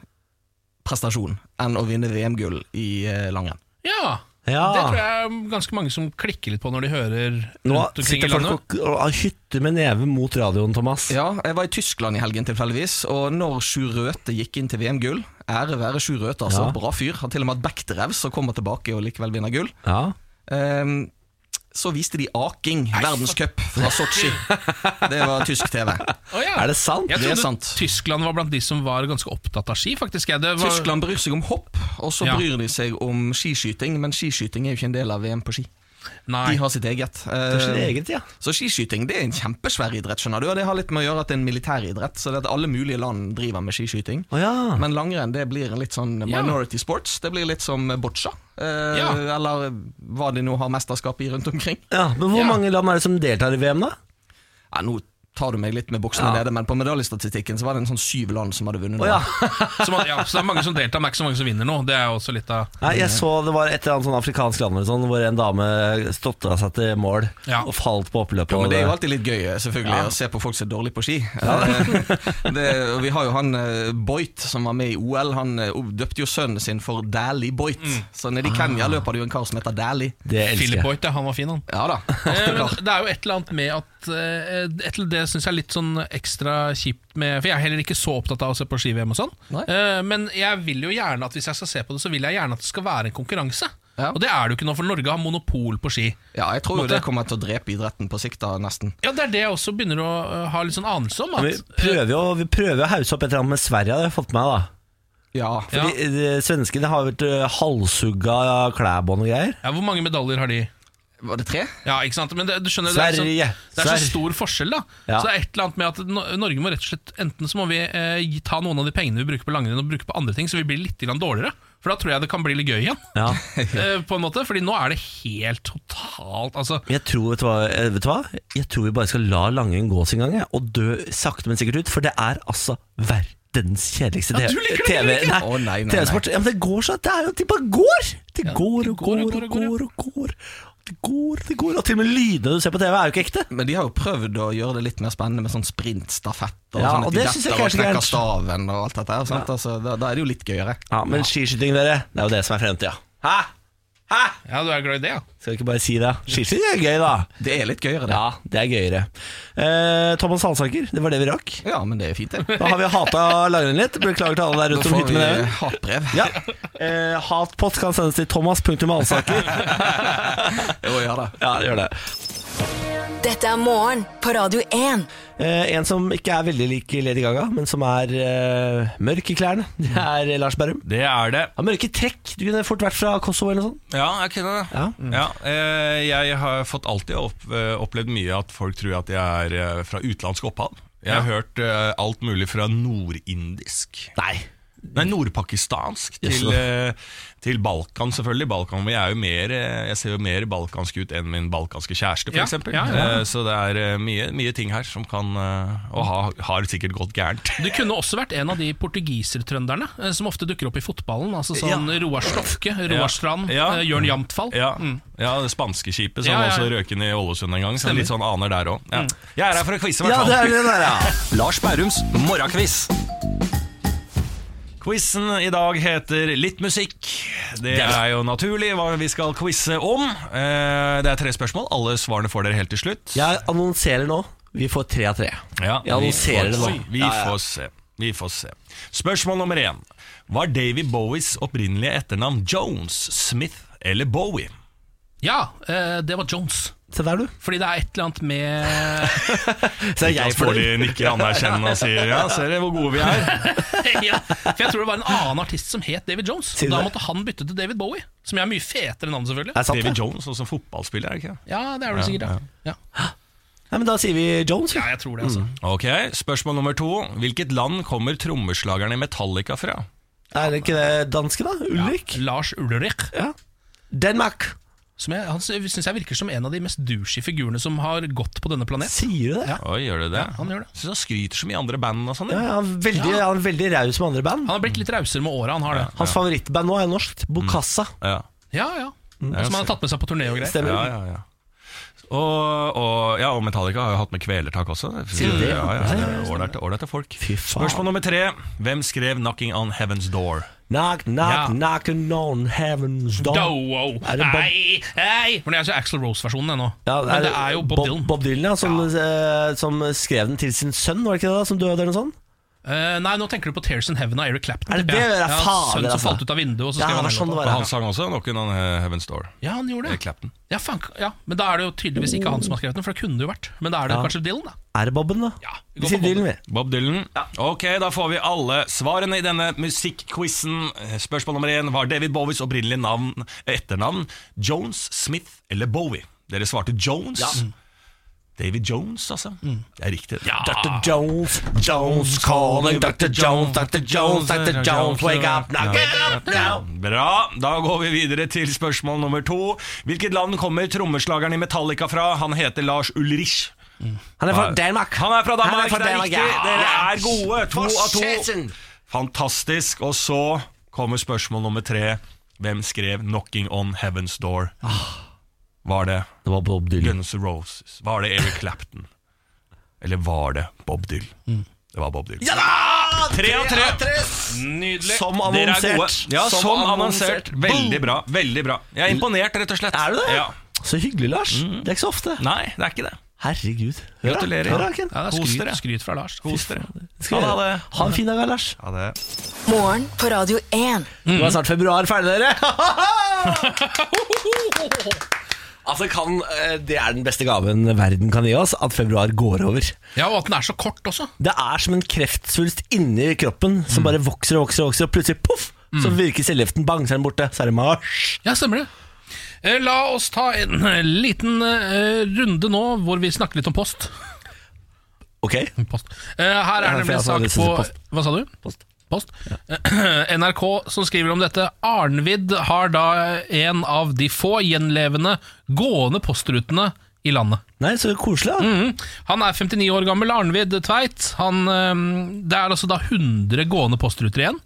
[SPEAKER 8] prestasjon enn å vinne VM-gull i eh, langrenn.
[SPEAKER 3] ja.
[SPEAKER 4] Ja.
[SPEAKER 3] Det tror jeg er ganske mange som klikker litt på når de hører
[SPEAKER 4] Nå
[SPEAKER 3] rundt omkring
[SPEAKER 4] sitter
[SPEAKER 3] i
[SPEAKER 4] folk
[SPEAKER 3] landet.
[SPEAKER 4] og, og og hytter med neven mot radioen, Thomas.
[SPEAKER 8] Ja, jeg var i Tyskland i helgen tilfeldigvis, og når Sjur Røthe gikk inn til VM-gull Ære være Sjur Røthe, altså.
[SPEAKER 4] Ja.
[SPEAKER 8] Bra fyr. Har til og med hatt backdrev som kommer tilbake og likevel vinner gull.
[SPEAKER 4] Ja.
[SPEAKER 8] Ehm, så viste de aking, verdenscup fra Sotsji. Det var tysk TV.
[SPEAKER 3] Å, ja.
[SPEAKER 4] Er det sant?
[SPEAKER 3] Jeg
[SPEAKER 8] Det er
[SPEAKER 3] trodde
[SPEAKER 8] sant.
[SPEAKER 3] Tyskland var blant de som var ganske opptatt av ski, faktisk. Jeg. Det var,
[SPEAKER 8] Tyskland bryr seg om hopp, og så
[SPEAKER 3] Ja.
[SPEAKER 8] bryr de seg om skiskyting, men skiskyting er jo ikke en del av VM på ski.
[SPEAKER 3] Nei.
[SPEAKER 8] De har sitt eget.
[SPEAKER 4] Det er sitt
[SPEAKER 8] Ehm,
[SPEAKER 4] eget, ja.
[SPEAKER 8] Så skiskyting det er en kjempesvær idrett, skjønner du, og det har litt med å gjøre at det er en militæridrett, så det er at alle mulige land driver med skiskyting.
[SPEAKER 4] Å ja.
[SPEAKER 8] Men langrenn det blir en litt sånn minority sports. Det blir litt som boccia, eh,
[SPEAKER 3] Ja.
[SPEAKER 8] eller hva de nå har mesterskap i rundt omkring.
[SPEAKER 4] ja. Men hvor
[SPEAKER 3] Ja.
[SPEAKER 4] mange land er det som deltar i VM, da?
[SPEAKER 8] Ja, nå tar du meg litt med buksene nede, men på medaljestatistikken så var det en sånn syv land som hadde vunnet. nå.
[SPEAKER 3] Så, man- ja, så det er mange som deltar, men det er ikke så mange som vinner nå. Det er jo også litt av
[SPEAKER 4] Nei, jeg så det var et eller annet sånn afrikansk land eller sånn, hvor en dame stotra seg til mål
[SPEAKER 3] Ja.
[SPEAKER 4] og falt på oppløpet.
[SPEAKER 8] Jo, men
[SPEAKER 4] og
[SPEAKER 8] Det er jo
[SPEAKER 4] det-
[SPEAKER 8] alltid litt gøy eh, selvfølgelig å se på folk som er dårlige på ski. Eh, det, og vi har jo han eh, Boit som var med i OL. Han eh, døpte jo sønnen sin for Dæhlie Boit.
[SPEAKER 3] Mm.
[SPEAKER 8] Så nede i
[SPEAKER 4] Ah.
[SPEAKER 8] Kenya løper det jo en kar som heter Dæhlie.
[SPEAKER 4] det elsker
[SPEAKER 3] Philip
[SPEAKER 4] jeg.
[SPEAKER 3] Boyt, ja, han var fin, han.
[SPEAKER 8] Ja da.
[SPEAKER 3] Eh, men det er jo et eller annet med at eh, et eller Det syns jeg er litt sånn ekstra kjipt med For jeg er heller ikke så opptatt av å se på ski-VM og sånn.
[SPEAKER 8] Nei.
[SPEAKER 3] Eh, men jeg vil jo gjerne at hvis jeg skal se på det, så vil jeg gjerne at det skal være en konkurranse.
[SPEAKER 8] Ja.
[SPEAKER 3] Og det er det jo ikke nå, for Norge har monopol på ski.
[SPEAKER 8] Ja, jeg tror jo
[SPEAKER 3] Måtte-
[SPEAKER 8] det kommer til å drepe idretten på sikt, da, nesten.
[SPEAKER 3] Ja, Det er det jeg også begynner å eh, ha litt sånn anelse om.
[SPEAKER 4] Men Vi
[SPEAKER 3] At,
[SPEAKER 4] prøver jo vi prøver å hause opp et eller annet med Sverige, det har jeg fått med meg. da
[SPEAKER 8] Ja,
[SPEAKER 3] Ja.
[SPEAKER 4] Fordi eh, Svenskene har vært eh, halshugga klærbånd og greier.
[SPEAKER 3] ja, Hvor mange medaljer har de?
[SPEAKER 8] Var det tre?
[SPEAKER 3] Ja, ikke sant? Men det, du skjønner, det er, sånn,
[SPEAKER 4] Sverige,
[SPEAKER 3] det er så
[SPEAKER 4] Sverige.
[SPEAKER 3] stor forskjell, da.
[SPEAKER 4] Ja.
[SPEAKER 3] Så det er et eller annet med at No- Norge må rett og slett Enten så må vi eh, gi- ta noen av de pengene vi bruker på langrenn, og bruke på andre ting, så vi blir litt grann dårligere. For da tror jeg det kan bli litt gøy igjen.
[SPEAKER 4] Ja.
[SPEAKER 3] Eh, på en måte, fordi nå er det helt totalt altså,
[SPEAKER 4] Jeg tror, vet, du hva, eh, vet du hva? Jeg tror vi bare skal la langrenn gå sin gang jeg, og dø sakte, men sikkert ut. For det er altså verdens kjedeligste
[SPEAKER 3] Ja,
[SPEAKER 4] TV.
[SPEAKER 3] du liker det,
[SPEAKER 4] TV
[SPEAKER 3] du liker det.
[SPEAKER 4] nei,
[SPEAKER 8] Å, nei, nei, nei.
[SPEAKER 4] TV-sport. Ja, men det går så Det er jo De bare går! De går og
[SPEAKER 3] går og
[SPEAKER 4] går
[SPEAKER 3] går
[SPEAKER 4] og
[SPEAKER 3] og
[SPEAKER 4] går og går. Det går, det går. Og til og med lydene du ser på TV, er jo ikke ekte.
[SPEAKER 8] Men de har jo prøvd å gjøre det litt mer spennende med sånn sprintstafett og
[SPEAKER 4] Ja,
[SPEAKER 8] sånn at
[SPEAKER 4] og
[SPEAKER 8] de
[SPEAKER 4] det synes jeg
[SPEAKER 8] detter og
[SPEAKER 4] kanskje ikke er
[SPEAKER 8] knekker staven og alt dette her. sant? Altså, da, da er det jo litt gøyere.
[SPEAKER 4] Ja, Men skiskyting, dere, det er jo det som er fremtida. Hæ? Hæ?
[SPEAKER 3] Ja, du er glad i det, ja?
[SPEAKER 4] Skal vi ikke bare si det? Skiskyting er gøy, da.
[SPEAKER 8] Det er litt gøyere, det.
[SPEAKER 4] Ja, det er gøyere. Eh, Thomas Halsaker, det var det vi rakk.
[SPEAKER 8] Ja, men det er fint, det.
[SPEAKER 4] Da har vi hata langrenn litt. Beklager til alle der
[SPEAKER 8] Da
[SPEAKER 4] ute som
[SPEAKER 8] får
[SPEAKER 4] hytter
[SPEAKER 8] vi
[SPEAKER 4] med neven.
[SPEAKER 8] hatbrev.
[SPEAKER 4] Ja. Eh, hatpott kan sendes til thomas.alsaker.
[SPEAKER 8] Jo, ja da.
[SPEAKER 4] Ja, gjør det.
[SPEAKER 5] Dette er morgen på Radio 1.
[SPEAKER 4] Eh, en som ikke er veldig lik Lady Gaga, men som er eh, mørk i klærne, det er Lars Berrum.
[SPEAKER 10] Det er det.
[SPEAKER 4] Har mørke trekk. Du kunne fort vært fra Kosovo eller noe sånt.
[SPEAKER 10] Ja, jeg kunne det.
[SPEAKER 4] Ja.
[SPEAKER 10] Ja, eh, jeg har fått alltid opp, eh, opplevd mye at folk tror at jeg er eh, fra utenlandsk opphav. Jeg har hørt eh, alt mulig fra nordindisk
[SPEAKER 4] Nei.
[SPEAKER 10] Nei, nordpakistansk til,
[SPEAKER 4] Jøss.
[SPEAKER 10] eh, til Balkan, selvfølgelig. Balkan, men jeg, er jo mer, eh, jeg ser jo mer balkansk ut enn min balkanske kjæreste,
[SPEAKER 3] Ja,
[SPEAKER 10] f.eks. eksempel
[SPEAKER 3] ja, ja.
[SPEAKER 10] Eh, Så det er eh, mye, mye ting her som kan eh, Og ha, har sikkert gått gærent.
[SPEAKER 3] Du kunne også vært en av de portugisertrønderne eh, som ofte dukker opp i fotballen. Altså sånn Roar Stofke, Roar Strand,
[SPEAKER 10] Ja.
[SPEAKER 3] eh, Jørn Jamtfall.
[SPEAKER 10] Ja, ja det spanske skipet som
[SPEAKER 3] Mm. Ja, ja, Mm. ja.
[SPEAKER 10] også røk inn i Ålesund en gang. Så litt sånn aner der òg. Ja. Jeg er her for å quize, i
[SPEAKER 4] Ja,
[SPEAKER 10] hvert
[SPEAKER 4] det
[SPEAKER 10] fall.
[SPEAKER 4] er det der, ja.
[SPEAKER 8] Lars Bærums morgenkviss.
[SPEAKER 10] Quizen i dag heter Litt musikk. Det er jo naturlig hva vi skal quize om. Eh, Det er tre spørsmål. Alle svarene får dere helt til slutt.
[SPEAKER 4] Jeg annonserer nå. Vi får tre av tre.
[SPEAKER 10] Ja,
[SPEAKER 4] Jeg
[SPEAKER 10] vi
[SPEAKER 4] annonserer
[SPEAKER 10] får
[SPEAKER 4] det nå.
[SPEAKER 10] se. Vi
[SPEAKER 4] Ja, ja.
[SPEAKER 10] får se. Vi får se. Spørsmål nummer én. Var Davy Bowies opprinnelige etternavn Jones, Smith eller Bowie?
[SPEAKER 3] Ja, eh, det var Jones.
[SPEAKER 4] Se der, du.
[SPEAKER 3] Fordi det er et eller annet med
[SPEAKER 4] Så er jeg
[SPEAKER 10] får
[SPEAKER 4] fornøyd.
[SPEAKER 10] de nikker anerkjennende og sier ja, ser dere hvor gode vi er?
[SPEAKER 3] ja, For jeg tror det var en annen artist som het David Jones.
[SPEAKER 4] Sier du
[SPEAKER 3] Da
[SPEAKER 4] det?
[SPEAKER 3] måtte han bytte til David Bowie, som jeg er mye fetere enn han,
[SPEAKER 4] Er
[SPEAKER 3] selvfølgelig.
[SPEAKER 4] det sant,
[SPEAKER 10] Davy
[SPEAKER 4] det?
[SPEAKER 10] Jones også som fotballspiller, er det ikke det?
[SPEAKER 3] Ja, det er det sikkert, ja. ja.
[SPEAKER 4] Nei, men da sier vi Jones.
[SPEAKER 3] Ja,
[SPEAKER 4] Ja.
[SPEAKER 3] jeg tror det, altså.
[SPEAKER 10] Ok, Spørsmål nummer to. Hvilket land kommer trommeslageren i Metallica fra?
[SPEAKER 4] Er det ikke det danske, da? Ulrik?
[SPEAKER 3] Lars Ulrich.
[SPEAKER 4] Ja. Denmark.
[SPEAKER 3] Som jeg, han syns jeg virker som en av de mest douchey figurene som har gått på denne planet.
[SPEAKER 4] Sier du det? Ja.
[SPEAKER 10] Oi, gjør det det?
[SPEAKER 3] han gjør det.
[SPEAKER 10] Synes han skryter så mye i andre band og sånn.
[SPEAKER 4] Ja,
[SPEAKER 10] Ja.
[SPEAKER 4] han er veldig, han er veldig raus med andre band.
[SPEAKER 3] Han har blitt litt rausere med åra, han har det.
[SPEAKER 4] Hans favorittband nå er norskt. Bokassa.
[SPEAKER 10] Mm. Ja. Mm.
[SPEAKER 3] Ja, ja. Som han har tatt med seg på turné og greier.
[SPEAKER 10] Ja,
[SPEAKER 4] Stemmer.
[SPEAKER 10] ja, ja. Og, og, ja, og Metallica har jo hatt med kvelertak også.
[SPEAKER 4] du det?
[SPEAKER 10] Ja, ja, ja, det er Ålreite ålreite folk.
[SPEAKER 4] Fy faen.
[SPEAKER 10] Spørsmål nummer tre. Hvem skrev 'Knocking on Heaven's Door'?
[SPEAKER 4] Knock, knock,
[SPEAKER 3] Ja.
[SPEAKER 4] knocking on heaven's door.
[SPEAKER 3] Do, wow.
[SPEAKER 4] Er det Bob-
[SPEAKER 3] Hei, hei! Men det er så Axel Rose-versjonen ennå.
[SPEAKER 4] Ja,
[SPEAKER 3] Men det er jo Bob Dylan.
[SPEAKER 4] Bob Dylan ja, som, eh, som skrev den til sin sønn, var det ikke det? da, Som døde eller noe sånt?
[SPEAKER 3] Eh, nei, nå tenker du på Tears in Heaven av Eric Clapton.
[SPEAKER 4] Er det
[SPEAKER 3] tipper jeg.
[SPEAKER 4] det? Det er
[SPEAKER 3] ja,
[SPEAKER 4] fader,
[SPEAKER 3] Sønnen som
[SPEAKER 4] altså.
[SPEAKER 3] falt ut av vinduet, og så
[SPEAKER 4] Ja,
[SPEAKER 3] skrev
[SPEAKER 4] det
[SPEAKER 3] han
[SPEAKER 4] var sånn det var.
[SPEAKER 3] låta.
[SPEAKER 10] Og han sang også 'Knocking on Heaven's Door'.
[SPEAKER 3] Ja, han gjorde
[SPEAKER 10] Eric
[SPEAKER 3] det.
[SPEAKER 10] Clapton.
[SPEAKER 3] Ja, faen, ja, Men da er det jo tydeligvis ikke han som har skrevet den, for det kunne det jo vært. Men da er det kanskje Dylan, da.
[SPEAKER 4] Er det Bobben, da?
[SPEAKER 3] Ja,
[SPEAKER 4] vi
[SPEAKER 3] vi går
[SPEAKER 4] sier
[SPEAKER 3] for Bob.
[SPEAKER 4] Dylan, vi.
[SPEAKER 10] Bob Dylan. Ok, da får vi alle svarene i denne musikkquizen. Spørsmål nummer én var David Bowies opprinnelige navn, etternavn. Jones, Smith eller Bowie? Dere svarte Jones. David Jones, altså. Det er riktig. det.
[SPEAKER 4] Dr. Jones, Jones calling, Dr. Jones, Dr. Jones, Dr. Jones, wake up, knock it up now.
[SPEAKER 10] Bra. Da går vi videre til spørsmål nummer to. Hvilket land kommer trommeslageren i Metallica fra? Han heter Lars Ulrich. Ah.
[SPEAKER 4] Han er fra Danmark.
[SPEAKER 10] Han er fra Danmark,
[SPEAKER 4] Han er fra
[SPEAKER 10] det er
[SPEAKER 4] Danmark,
[SPEAKER 10] riktig.
[SPEAKER 4] ja.
[SPEAKER 10] Dere er gode. To av to.
[SPEAKER 4] Forsetten.
[SPEAKER 10] Fantastisk. Og så kommer spørsmål nummer tre. Hvem skrev 'Knocking on Heaven's Door'? Var det
[SPEAKER 4] Det var Bob Dylan.
[SPEAKER 10] Guns N' Roses? Var det Eric Clapton? Eller var det Bob Dylan?
[SPEAKER 3] Mm.
[SPEAKER 10] Det var Bob Dylan. Tre av tre.
[SPEAKER 3] Nydelig.
[SPEAKER 4] Som
[SPEAKER 10] Dere er gode.
[SPEAKER 4] annonsert.
[SPEAKER 10] Ja, som, annonsert. Veldig bra. veldig bra Jeg er imponert, rett og slett.
[SPEAKER 4] Er du det?
[SPEAKER 10] Ja. Mm.
[SPEAKER 4] Så hyggelig, Lars. Det er ikke så ofte.
[SPEAKER 10] Nei, det er ikke det.
[SPEAKER 4] Herregud. Hør da.
[SPEAKER 10] Gratulerer.
[SPEAKER 4] Hør da, Ken.
[SPEAKER 3] Ja, det er
[SPEAKER 10] Kos
[SPEAKER 3] skryt,
[SPEAKER 10] dere.
[SPEAKER 3] skryt fra Lars. Kos dere.
[SPEAKER 4] Skal vi-
[SPEAKER 10] Ha det, ha det.
[SPEAKER 4] Ha en fin dag, Lars.
[SPEAKER 10] Ja, det.
[SPEAKER 5] Morgen på Radio 1.
[SPEAKER 4] Nå er snart februar ferdig, dere. altså kan, eh, Det er den beste gaven verden kan gi oss, at februar går over.
[SPEAKER 3] Ja, og at den er så kort også.
[SPEAKER 4] Det er som en kreftsvulst inni kroppen som
[SPEAKER 3] Mm.
[SPEAKER 4] bare vokser og vokser, og vokser og plutselig poff, så virker cellegiftene. Bang, så er den borte. Så er det mars.
[SPEAKER 3] Ja, stemmer det. Eh, La oss ta en eh, liten eh, runde nå hvor vi snakker litt om post.
[SPEAKER 4] Ok?
[SPEAKER 3] post. Eh, Her
[SPEAKER 4] Ja,
[SPEAKER 3] er
[SPEAKER 4] for jeg
[SPEAKER 3] nemlig en
[SPEAKER 4] har
[SPEAKER 3] sak
[SPEAKER 4] lyst til
[SPEAKER 3] på
[SPEAKER 4] å si post.
[SPEAKER 3] Hva sa du?
[SPEAKER 4] Post.
[SPEAKER 3] Post. Eh, NRK som skriver om dette. Arnvid har da en av de få gjenlevende gående postrutene i landet.
[SPEAKER 4] Nei, så koselig, da.
[SPEAKER 3] Mhm. Han er 59 år gammel, Arnvid Tveit. Han, eh, det er altså da 100 gående postruter igjen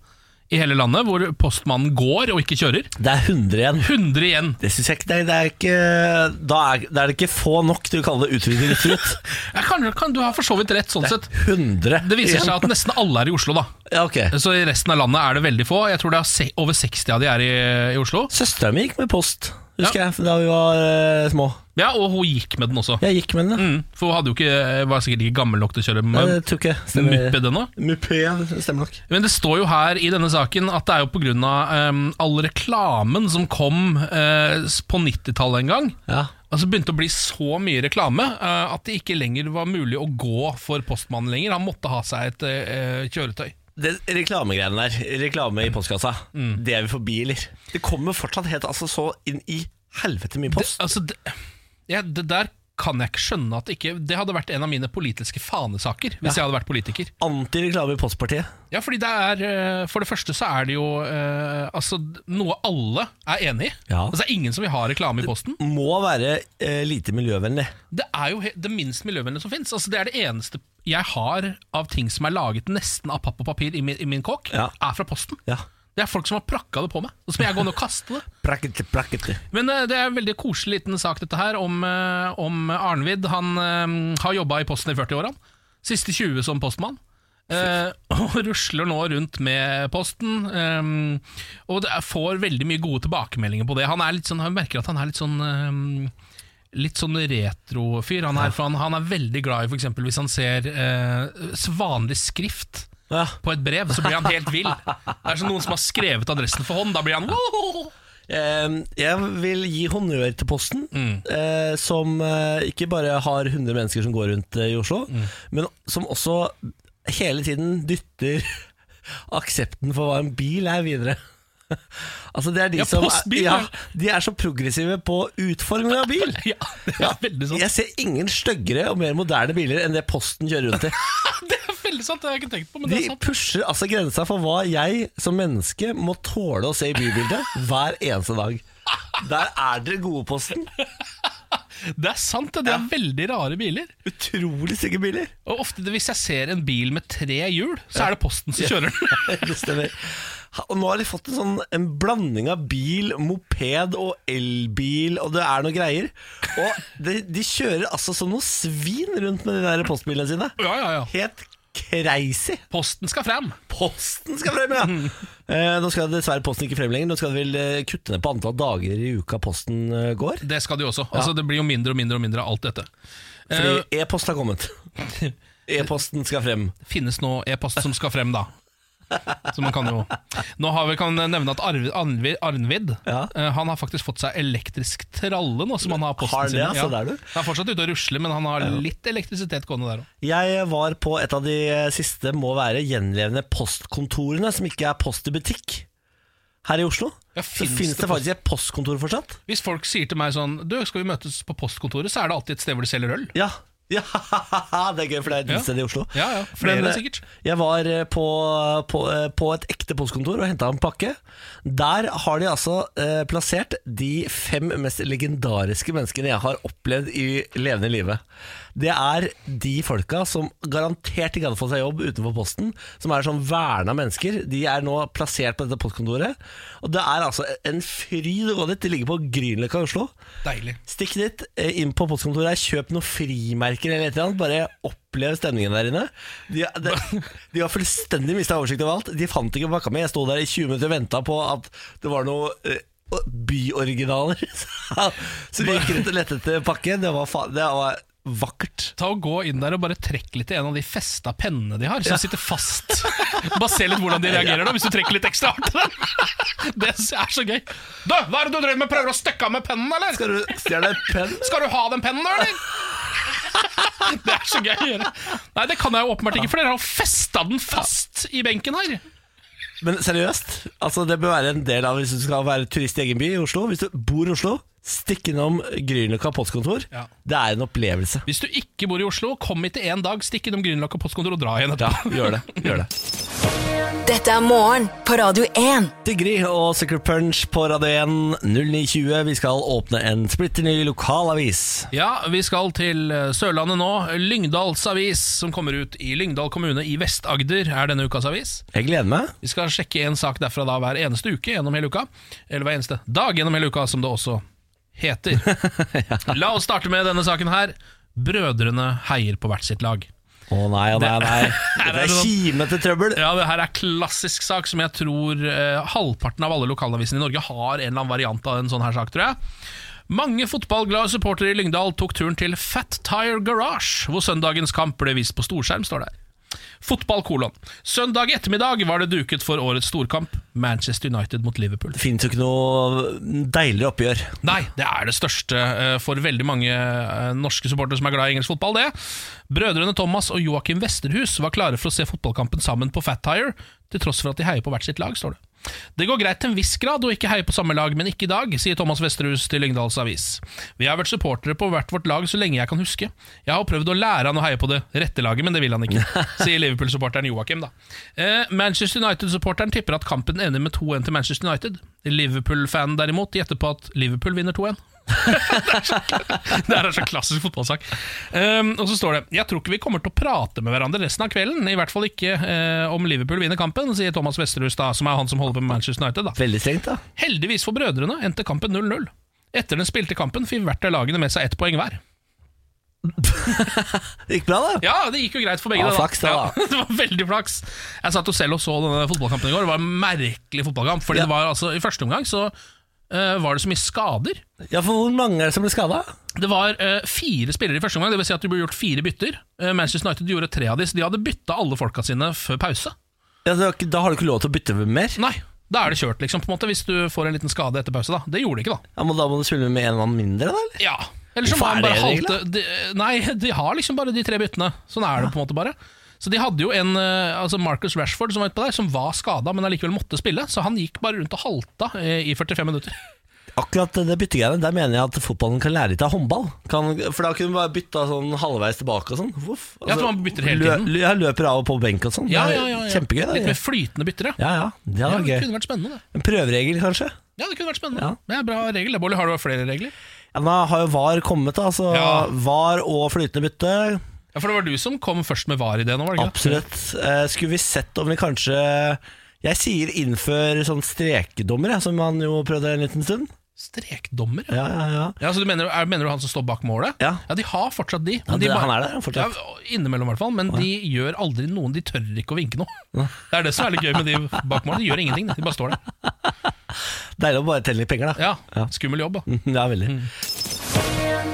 [SPEAKER 3] i hele landet, hvor postmannen går og ikke kjører.
[SPEAKER 4] Det er 100 igjen.
[SPEAKER 3] 100 igjen.
[SPEAKER 4] Det synes jeg ikke, det er, det er ikke da er, da er det ikke få nok til å kalle det utryddet utrydd.
[SPEAKER 3] Ja, kan, kan du har for så vidt rett, sånn sett.
[SPEAKER 4] 100
[SPEAKER 3] Det viser
[SPEAKER 4] igjen.
[SPEAKER 3] seg at nesten alle er i Oslo, da.
[SPEAKER 4] ja, ok.
[SPEAKER 3] Så i resten av landet er det veldig få. Jeg tror det er se- over 60 av de er i, i Oslo.
[SPEAKER 4] Søstera mi gikk med post, husker jeg, da vi var eh, små.
[SPEAKER 3] Ja, Og hun gikk med den også.
[SPEAKER 4] Jeg gikk med den, ja.
[SPEAKER 3] Mm, for hun hadde jo ikke, var sikkert ikke gammel nok til å kjøre
[SPEAKER 4] Nei,
[SPEAKER 3] med
[SPEAKER 4] det tror ikke jeg.
[SPEAKER 3] muppe ennå.
[SPEAKER 4] Muppe, ja, det stemmer nok.
[SPEAKER 3] Men det står jo her i denne saken at det er jo pga. Um, all reklamen som kom eh, på 90-tallet en gang.
[SPEAKER 4] Ja.
[SPEAKER 3] Altså begynte å bli så mye reklame eh, at det ikke lenger var mulig å gå for postmannen lenger. Han måtte ha seg et eh, kjøretøy.
[SPEAKER 4] Det reklamegreiene der, reklame i postkassa, det er vi forbi, eller? Det kommer fortsatt helt altså, så inn i helvete mye
[SPEAKER 3] Det,
[SPEAKER 4] post.
[SPEAKER 3] altså, det, ja, det der kan jeg ikke skjønne at ikke Det hadde vært en av mine politiske fanesaker hvis jeg hadde vært politiker.
[SPEAKER 4] Antireklame i Postpartiet.
[SPEAKER 3] Ja, fordi det er eh, For det første så er det jo eh, altså, noe alle er enig i.
[SPEAKER 4] Ja.
[SPEAKER 3] Altså, det er ingen som vil ha reklame i posten.
[SPEAKER 4] Må være eh, lite miljøvennlig.
[SPEAKER 3] Det er jo he- det minst miljøvennlige som fins. Altså, det er det eneste jeg har av ting som er laget nesten av papp og papir i min, i min kåk,
[SPEAKER 4] Ja.
[SPEAKER 3] er fra posten.
[SPEAKER 4] Ja.
[SPEAKER 3] Det er folk som har prakka det på meg. Og så må jeg gå ned og kaste det.
[SPEAKER 4] Prakkete, prakkete.
[SPEAKER 3] Men eh, det er en veldig koselig liten sak dette her om, eh, om Arnvid. Han eh, har jobba i Posten i 40 år, han. Siste 20 som postmann. Eh, og rusler nå rundt med posten. eh, og det er, får veldig mye gode tilbakemeldinger på det. Han er litt sånn, han merker at han er litt sånn eh, Litt sånn retrofyr. Han, er- for han, han er veldig glad i for eksempel hvis han ser eh, s- vanlig skrift
[SPEAKER 4] Ja.
[SPEAKER 3] på et brev, så blir han helt vill. Det er som noen som har skrevet adressen for hånd. Da blir han
[SPEAKER 4] Eh, jeg vil gi honnør til Posten,
[SPEAKER 3] Mm.
[SPEAKER 4] eh, som eh, ikke bare har 100 mennesker som går rundt eh, i Oslo,
[SPEAKER 3] Mm.
[SPEAKER 4] men som også hele tiden dytter aksepten for hva en bil er videre. altså det er de
[SPEAKER 3] Ja,
[SPEAKER 4] som er,
[SPEAKER 3] postbil,
[SPEAKER 4] ja,
[SPEAKER 3] ja.
[SPEAKER 4] De er så progressive på utforming av bil.
[SPEAKER 3] Ja, det er veldig sånn.
[SPEAKER 4] Jeg ser ingen styggere og mer moderne biler enn det Posten kjører rundt i.
[SPEAKER 3] Det er veldig sant, det har jeg ikke tenkt på, men det
[SPEAKER 4] De
[SPEAKER 3] er sant.
[SPEAKER 4] pusher altså grensa for hva jeg som menneske må tåle å se i bybildet hver eneste dag. Der er dere gode, Posten.
[SPEAKER 3] Det er sant, det. Det er veldig rare biler.
[SPEAKER 4] Utrolig stygge biler.
[SPEAKER 3] Og ofte det, hvis jeg ser en bil med tre hjul, så er det Posten som kjører den.
[SPEAKER 4] Det stemmer. Ha- Og nå har de fått en, sånn, en blanding av bil, moped og elbil, og det er noe greier. Og de, de kjører altså som noe svin rundt med de der postbilene sine.
[SPEAKER 3] Ja, ja, ja.
[SPEAKER 4] Helt crazy.
[SPEAKER 3] Posten skal frem.
[SPEAKER 4] Posten skal frem, ja! Eh, nå skal dessverre Posten ikke frem lenger. Nå skal de vel eh, kutte ned på antall dager i uka Posten eh, går.
[SPEAKER 3] Det skal de også. Altså, det blir jo mindre og mindre og mindre av alt dette. Eh,
[SPEAKER 4] Fordi e-post har kommet. E-posten skal frem.
[SPEAKER 3] Det finnes nå e-post som skal frem, da. Så man kan jo Nå har vi, kan nevne at Arvid, Arnvid, Arnvid
[SPEAKER 4] Ja.
[SPEAKER 3] eh, Han har faktisk fått seg elektrisk tralle nå som han har posten
[SPEAKER 4] Har det,
[SPEAKER 3] sin i.
[SPEAKER 4] altså, der du.
[SPEAKER 3] Han er fortsatt ute og rusler, men han har litt elektrisitet gående der òg.
[SPEAKER 4] Jeg var på et av de siste må være gjenlevende postkontorene som ikke er post i butikk her i Oslo.
[SPEAKER 3] Ja,
[SPEAKER 4] så
[SPEAKER 3] finnes
[SPEAKER 4] finnes
[SPEAKER 3] det
[SPEAKER 4] det faktisk et postkontor fortsatt.
[SPEAKER 3] Hvis folk sier til meg sånn Du, skal vi møtes på postkontoret, så er det alltid et sted hvor de selger øl.
[SPEAKER 4] Ja, Ja, det er gøy, for det er et
[SPEAKER 3] Ja.
[SPEAKER 4] utested i Oslo.
[SPEAKER 3] Ja, ja, flere
[SPEAKER 4] Men, eh,
[SPEAKER 3] sikkert.
[SPEAKER 4] Jeg var eh, på, på, eh, på et ekte postkontor og henta en pakke. Der har de altså eh, plassert de fem mest legendariske menneskene jeg har opplevd i levende livet. Det er de folka som garantert ikke hadde fått seg jobb utenfor Posten, som er sånn verna mennesker. De er nå plassert på dette postkontoret. Og det er altså en fryd å gå dit. De ligger på Grünerløkka i Oslo.
[SPEAKER 3] Deilig.
[SPEAKER 4] Stikk dit, eh, inn på postkontoret, kjøp noen frimerker eller et eller annet. Bare opplev stemningen der inne. De, de, de har fullstendig mista oversikt over alt. De fant ikke pakka mi. Jeg sto der i 20 minutter og venta på at det var noe eh, byoriginaler. Så vi gikk rundt og lette etter pakke. Det var, fa det var vakkert.
[SPEAKER 3] Ta og Gå inn der og bare trekk litt i en av de festa pennene de har, som
[SPEAKER 4] Ja.
[SPEAKER 3] sitter fast. Bare se litt hvordan de reagerer da, hvis du trekker litt ekstra hardt. i den. Det er så gøy. Du, hva er det du driver med? Prøver å stikke av med pennen, eller?
[SPEAKER 4] Skal du stjele penn?
[SPEAKER 3] Skal du ha den pennen, da, eller? Det er så gøy å gjøre. Nei, det kan jeg jo åpenbart ikke, for dere har jo festa den fast i benken her.
[SPEAKER 4] Men seriøst, altså det bør være en del av hvis du skal være turist i egen by i Oslo. Hvis du bor i Oslo, stikk innom Grünerløkka postkontor.
[SPEAKER 3] Ja.
[SPEAKER 4] Det er en opplevelse.
[SPEAKER 3] Hvis du ikke bor i Oslo, kom hit en dag, stikk innom Grünerløkka postkontor og dra igjen etterpå.
[SPEAKER 4] Gjør det. Gjør det.
[SPEAKER 5] Dette er morgen på Radio 1.
[SPEAKER 4] Sigrid og Secret Punch på Radio 1 0920. Vi skal åpne en splitter ny lokalavis.
[SPEAKER 3] Ja, vi skal til eh, Sørlandet nå. Lyngdals Avis, som kommer ut i Lyngdal kommune i Vest-Agder, er denne ukas avis.
[SPEAKER 4] Jeg gleder meg.
[SPEAKER 3] Vi skal sjekke en sak derfra da hver eneste uke gjennom hele uka. Eller hver eneste dag gjennom hele uka, som det også heter. La oss starte med denne saken her. Brødrene heier på hvert sitt lag.
[SPEAKER 4] Å nei, å nei, nei.
[SPEAKER 3] Her
[SPEAKER 4] Det
[SPEAKER 3] er
[SPEAKER 4] er
[SPEAKER 3] det
[SPEAKER 4] kimete trøbbel.
[SPEAKER 3] Ja, det her er klassisk sak som jeg tror eh, halvparten av alle lokalavisene i Norge har en eller annen variant av en sånn her sak, tror jeg. Mange fotballglade supportere i Lyngdal tok turen til Fat Tire Garage, hvor søndagens kamp ble vist på storskjerm, står det her. Fotball kolon. Søndag ettermiddag var det duket for årets storkamp, Manchester United mot Liverpool.
[SPEAKER 4] Det fins jo ikke noe deiligere oppgjør.
[SPEAKER 3] Nei, det er det største eh, for veldig mange eh, norske supportere som er glad i engelsk fotball. det. Brødrene Thomas og Joakim Westerhus var klare for å se fotballkampen sammen på Fat Tire, til tross for at de heier på hvert sitt lag, står det. Det går greit til en viss grad å ikke heie på samme lag, men ikke i dag, sier Thomas Westerhus til Lyngdals Avis. Vi har vært supportere på hvert vårt lag så lenge jeg kan huske. Jeg har prøvd å lære han å heie på det rette laget, men det vil han ikke, sier Liverpool-supporteren Joakim, da. Eh, Manchester United-supporteren tipper at kampen ender med 2-1 til Manchester United. Liverpool-fanen derimot gjetter på at Liverpool vinner 2-1. det her er så klassisk fotballsak. Ehm, og så står det Jeg tror ikke vi kommer til å prate med hverandre resten av kvelden. I hvert fall ikke eh, om Liverpool vinner kampen, sier Thomas Westerhus, da, som er han som holder på med Manchester United. da
[SPEAKER 4] Veldig strengt, da.
[SPEAKER 3] Heldigvis for brødrene endte kampen 0-0. Etter den spilte kampen fikk hvert av lagene med seg ett poeng hver.
[SPEAKER 4] Det gikk bra, da.
[SPEAKER 3] Ja, det gikk jo greit for begge.
[SPEAKER 4] Ja,
[SPEAKER 3] det da.
[SPEAKER 4] flaks det, da.
[SPEAKER 3] Ja, det var veldig flaks. Jeg satt jo selv og så denne fotballkampen i går. Det var en merkelig fotballkamp. Fordi
[SPEAKER 4] Ja.
[SPEAKER 3] det var altså, I første omgang så eh, var det så mye skader.
[SPEAKER 4] Ja, for hvor mange er det som ble skada?
[SPEAKER 3] Det var eh, fire spillere i første omgang, dvs. Si at det ble gjort fire bytter. Eh, Manchester United gjorde tre av dem, så de hadde bytta alle folka sine før pause.
[SPEAKER 4] Ja, det var ikke- da har du ikke lov til å bytte med mer.
[SPEAKER 3] Nei, da er det kjørt, liksom, på en måte, hvis du får en liten skade etter pause. da Det gjorde de ikke, da.
[SPEAKER 4] Ja, men da må du spille med en mann mindre, da? eller?
[SPEAKER 3] Ja Eller så
[SPEAKER 4] Hvorfor
[SPEAKER 3] var han
[SPEAKER 4] er det
[SPEAKER 3] bare
[SPEAKER 4] regel,
[SPEAKER 3] halte de, Nei, de har liksom bare de tre byttene. Sånn er det på en måte bare. Så de hadde jo en eh, altså Marcus Rashford som var utpå der, som var skada, men allikevel måtte spille. Så han gikk bare rundt og halta eh, i 45 minutter.
[SPEAKER 4] Akkurat det byttegreiene, der mener jeg at fotballen kan lære litt av håndball. Kan, for da kunne du bare bytta sånn halvveis tilbake og sånn. Voff.
[SPEAKER 3] Ja, at man bytter hele tiden.
[SPEAKER 4] lø- lø- jeg løper av og på benk og sånn.
[SPEAKER 3] Ja,
[SPEAKER 4] Det er
[SPEAKER 3] ja, ja, ja.
[SPEAKER 4] Kjempegøy. Da.
[SPEAKER 3] Litt mer flytende byttere.
[SPEAKER 4] Ja, ja. Det
[SPEAKER 3] Ja,
[SPEAKER 4] hadde
[SPEAKER 3] det
[SPEAKER 4] vært gøy.
[SPEAKER 3] kunne vært spennende. det.
[SPEAKER 4] En prøveregel, kanskje?
[SPEAKER 3] Ja, det kunne vært spennende.
[SPEAKER 4] Ja.
[SPEAKER 3] Det er bra regel. Bolly, har du flere regler?
[SPEAKER 4] Ja, nå har jo VAR kommet, da. Så
[SPEAKER 3] Ja.
[SPEAKER 4] VAR og flytende bytte.
[SPEAKER 3] Ja, For det var du som kom først med var-ideen? var det ikke?
[SPEAKER 4] Absolutt. Eh, skulle vi sett om vi kanskje Jeg sier innfør sånn strekedommer, jeg, som han jo prøvde en liten stund.
[SPEAKER 3] Strekdommer, ja.
[SPEAKER 4] Ja, ja, ja.
[SPEAKER 3] ja så du mener, er, mener du han som står bak målet?
[SPEAKER 4] Ja.
[SPEAKER 3] de har fortsatt de.
[SPEAKER 4] ja
[SPEAKER 3] de
[SPEAKER 4] det,
[SPEAKER 3] bare-
[SPEAKER 4] han er der fortsatt.
[SPEAKER 3] Ja, innimellom, i hvert fall. Men de gjør aldri noen De tør ikke å vinke noe. Det er det som er litt gøy med de bak målet. De gjør ingenting, de bare står der.
[SPEAKER 4] Deilig å bare telle litt penger, da.
[SPEAKER 3] Ja, Mm. Skummel jobb, da.
[SPEAKER 4] Ja, veldig.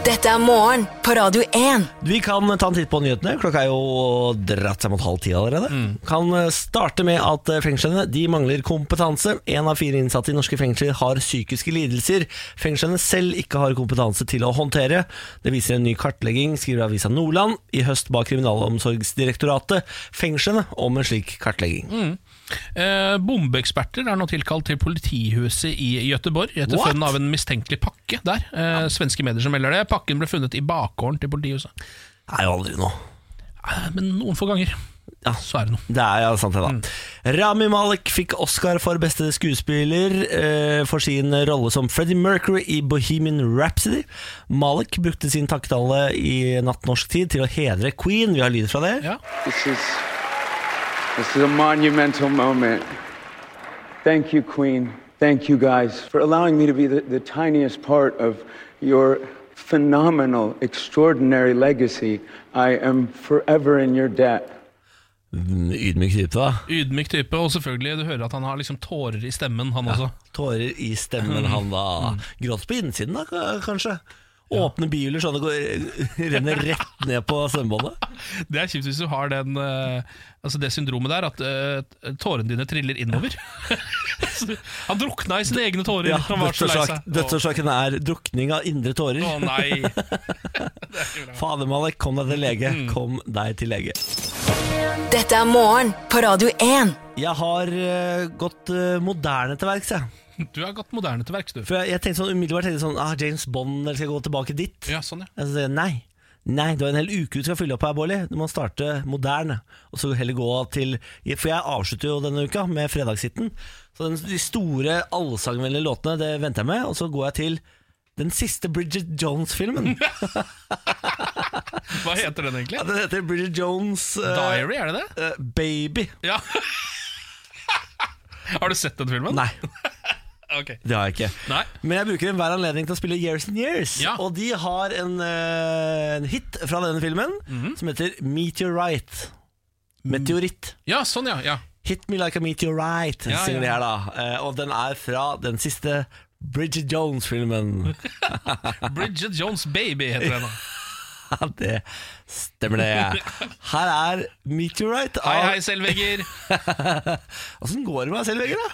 [SPEAKER 5] Dette er morgen på Radio 1.
[SPEAKER 4] Vi kan ta en titt på nyhetene. Klokka er jo dratt seg mot halv ti allerede. Kan eh, starte med at eh, fengslene de mangler kompetanse. Én av fire innsatte i norske fengsler har psykiske lidelser fengslene selv ikke har kompetanse til å håndtere. Det viser en ny kartlegging, skriver avisa Nordland i høst ba Kriminalomsorgsdirektoratet fengslene om en slik kartlegging.
[SPEAKER 3] Eh, bombeeksperter er nå tilkalt til politihuset i Gøteborg etter
[SPEAKER 4] What?
[SPEAKER 3] funn av en mistenkelig pakke der. Eh, Svenske medier som melder det. Pakken ble funnet i bakgården til politihuset.
[SPEAKER 4] er jo aldri noe.
[SPEAKER 3] Eh, Men noen få ganger.
[SPEAKER 4] Ja.
[SPEAKER 3] Så er det noe.
[SPEAKER 4] Det er ja, sant det,
[SPEAKER 3] Mm.
[SPEAKER 4] da. Rami Malek fikk Oscar for beste skuespiller eh, for sin rolle som Freddie Mercury i Bohemian Rhapsody. Malek brukte sin takketale i Natt norsk tid til å hedre Queen. Vi har lyd fra det.
[SPEAKER 11] This is this is a monumental moment. Thank you, Queen. Thank you guys for allowing me to be the, the tiniest part of your phenomenal, extraordinary legacy. I am forever in your debt.
[SPEAKER 4] Mm, Ydmyk type, da.
[SPEAKER 3] Ydmyk type, og selvfølgelig, du hører at han har liksom tårer i stemmen, han også.
[SPEAKER 4] Tårer i stemmen, han da. Gråt Mm. på innsiden, da, k- kanskje. Åpne biler sånn at det går, renner rett ned på stemmebåndet.
[SPEAKER 3] Det er kjipt hvis du har den, eh, altså det syndromet der, at eh, tårene dine triller innover. Så han drukna i sine egne tårer.
[SPEAKER 4] Ja,
[SPEAKER 3] han var så lei
[SPEAKER 4] dødsårsak-
[SPEAKER 3] seg.
[SPEAKER 4] Dødsårsaken er drukning av indre tårer.
[SPEAKER 3] Å nei.
[SPEAKER 4] Fader, Malek, kom deg til lege.
[SPEAKER 3] Mm.
[SPEAKER 4] Kom deg til lege.
[SPEAKER 5] Dette er morgen på Radio 1.
[SPEAKER 4] Jeg har eh, gått eh, moderne til verks, jeg.
[SPEAKER 3] Du har gått moderne til verks, du.
[SPEAKER 4] For jeg, jeg tenkte sånn umiddelbart tenkte jeg sånn, ah, James Bond, eller skal jeg gå tilbake dit?
[SPEAKER 3] Ja, sånn, ja.
[SPEAKER 4] Jeg sier, nei. Nei, du har en hel uke du skal fylle opp her, Bårli. Du må starte moderne. Og så heller gå til For jeg avslutter jo denne uka med fredagshitten. Så den, de store allsangvennlige låtene, det venter jeg med. Og så går jeg til den siste Bridget Jones-filmen.
[SPEAKER 3] Hva heter den egentlig?
[SPEAKER 4] Ja, den heter Bridget Jones eh,
[SPEAKER 3] Diary, er det det?
[SPEAKER 4] eh, Baby.
[SPEAKER 3] Ja. har du sett den filmen?
[SPEAKER 4] Nei,
[SPEAKER 3] Ok.
[SPEAKER 4] det har jeg ikke.
[SPEAKER 3] Nei.
[SPEAKER 4] Men jeg bruker enhver anledning til å spille Years and Years.
[SPEAKER 3] Ja.
[SPEAKER 4] Og de har en, eh, en hit fra denne filmen
[SPEAKER 3] Mhm.
[SPEAKER 4] som heter Meteorite.
[SPEAKER 3] Mm.
[SPEAKER 4] Meteoritt.
[SPEAKER 3] Ja, sånn, ja. ja.
[SPEAKER 4] Hit me like a meteorite,
[SPEAKER 3] Ja,
[SPEAKER 4] synger de
[SPEAKER 3] ja.
[SPEAKER 4] her da. Eh, Og den er fra den siste Bridget Jones-filmen.
[SPEAKER 3] Bridget Jones Baby heter den. da.
[SPEAKER 4] Ja, det stemmer det. Her er Meteorite.
[SPEAKER 3] Hei,
[SPEAKER 4] av-
[SPEAKER 3] hei, selvvegger.
[SPEAKER 4] Åssen går det med deg selv, Vegard? da?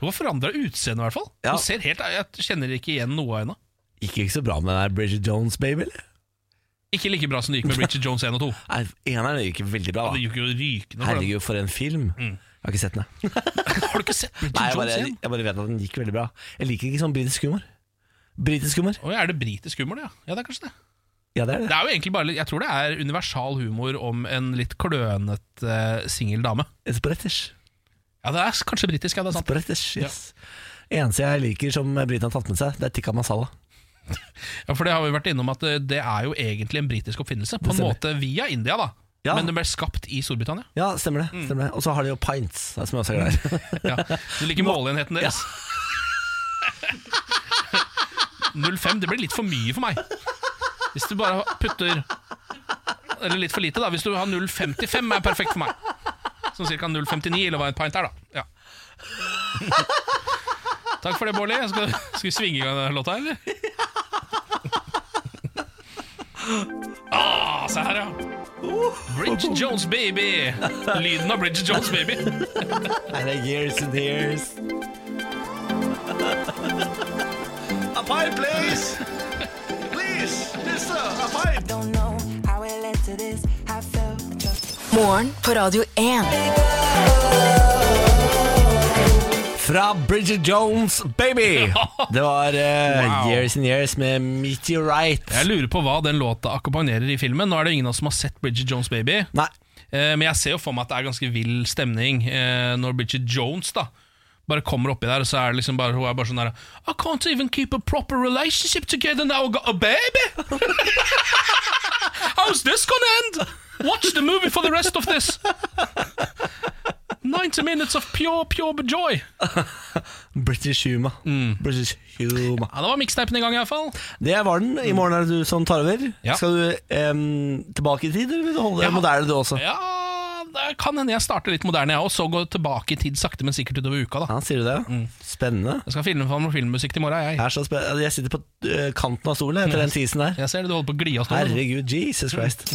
[SPEAKER 3] Hun har forandra utseende, i hvert fall.
[SPEAKER 4] Ja.
[SPEAKER 3] Hun ser helt, Jeg kjenner ikke igjen noe av henne.
[SPEAKER 4] Gikk ikke så bra med den her Bridget Jones, baby? eller?
[SPEAKER 3] Ikke like bra som det gikk med Bridget Jones 1 og 2.
[SPEAKER 4] Nei, Eneren gikk veldig bra.
[SPEAKER 3] Det
[SPEAKER 4] da
[SPEAKER 3] gikk jo rykende for den. Mm.
[SPEAKER 4] Herregud, for en film. Jeg har ikke sett den, jeg.
[SPEAKER 3] Har du ikke sett Bridget
[SPEAKER 4] Nei, jeg bare,
[SPEAKER 3] Jones
[SPEAKER 4] jeg,
[SPEAKER 3] 1?
[SPEAKER 4] bare vet at den gikk veldig bra. Jeg liker ikke sånn britisk humor. Britisk humor?
[SPEAKER 3] Å, ja, er det britisk humor, det? Ja. ja, det er kanskje det.
[SPEAKER 4] Ja, det er
[SPEAKER 3] Det
[SPEAKER 4] det.
[SPEAKER 3] er jo egentlig bare litt- Jeg tror det er universal humor om en litt klønete eh, singel dame.
[SPEAKER 4] It's British.
[SPEAKER 3] Ja, det er s- kanskje britisk, ja. Det er
[SPEAKER 4] It's
[SPEAKER 3] sant.
[SPEAKER 4] British, yes. Eneste jeg liker som britene har tatt med seg, det er tikka masala.
[SPEAKER 3] Ja, for det har vi vært innom at eh, det er jo egentlig en britisk oppfinnelse. På en
[SPEAKER 4] stemmer.
[SPEAKER 3] måte via India, da.
[SPEAKER 4] Ja.
[SPEAKER 3] Men den ble skapt i Storbritannia.
[SPEAKER 4] Ja, stemmer det.
[SPEAKER 3] Mm.
[SPEAKER 4] Stemmer det. Og så har de jo pints, som jeg også er glad i.
[SPEAKER 3] Ja. Du liker måleenheten deres. 05, det blir litt for mye for meg. Hvis du bare putter Eller litt for lite, da. Hvis du har 0,55 er perfekt for meg. Sånn ca. 0,59, eller hva en pint er, da. Ja. Takk for det, Bårli. Skal, skal vi svinge i gang denne låta, eller? Ah, se her, ja. Bridget Jones, baby. Lyden av Bridget Jones, baby.
[SPEAKER 4] Nei, det er years and years.
[SPEAKER 2] A pint, please! Please, mister, a pint!
[SPEAKER 5] Morgen på Radio 1.
[SPEAKER 4] Fra Bridget Jones, baby! Det var eh,
[SPEAKER 3] Wow.
[SPEAKER 4] Years and Years med Meteorite.
[SPEAKER 3] Jeg lurer på hva den låta akkompagnerer i filmen. Nå er det ingen av oss som har sett Bridget Jones Baby,
[SPEAKER 4] Nei,
[SPEAKER 3] eh, men jeg ser jo for meg at det er ganske vill stemning eh, når Bridget Jones da bare kommer oppi der, og så er det liksom bare, hun er bare sånn der I can't even keep a proper relationship together now I got a baby! How's this gonna end? Watch the movie for the rest of this! 90 minutes of pure, pure joy.
[SPEAKER 4] British humor.
[SPEAKER 3] Mm.
[SPEAKER 4] British humor.
[SPEAKER 3] Ja, Det var mixtapen i gang, i hvert fall.
[SPEAKER 4] Det var den. I morgen er det du som tar over.
[SPEAKER 3] Ja.
[SPEAKER 4] Skal du em, tilbake i tid, eller vil du holde deg moderne du også?
[SPEAKER 3] Ja, det kan hende jeg starter litt moderne, jeg òg, så går tilbake i tid sakte, men sikkert utover uka. da
[SPEAKER 4] Ja, sier du det?
[SPEAKER 3] Mm.
[SPEAKER 4] Spennende.
[SPEAKER 3] Jeg skal filme fram filmmusikk til i morgen,
[SPEAKER 4] Jeg,
[SPEAKER 3] jeg.
[SPEAKER 4] er så spen jeg sitter på eh, kanten av stolen etter
[SPEAKER 3] Mm.
[SPEAKER 4] den teasen der.
[SPEAKER 3] Jeg ser det, du holder på å gli av stolen.
[SPEAKER 4] Herregud,
[SPEAKER 3] Mm.
[SPEAKER 4] Jesus Christ.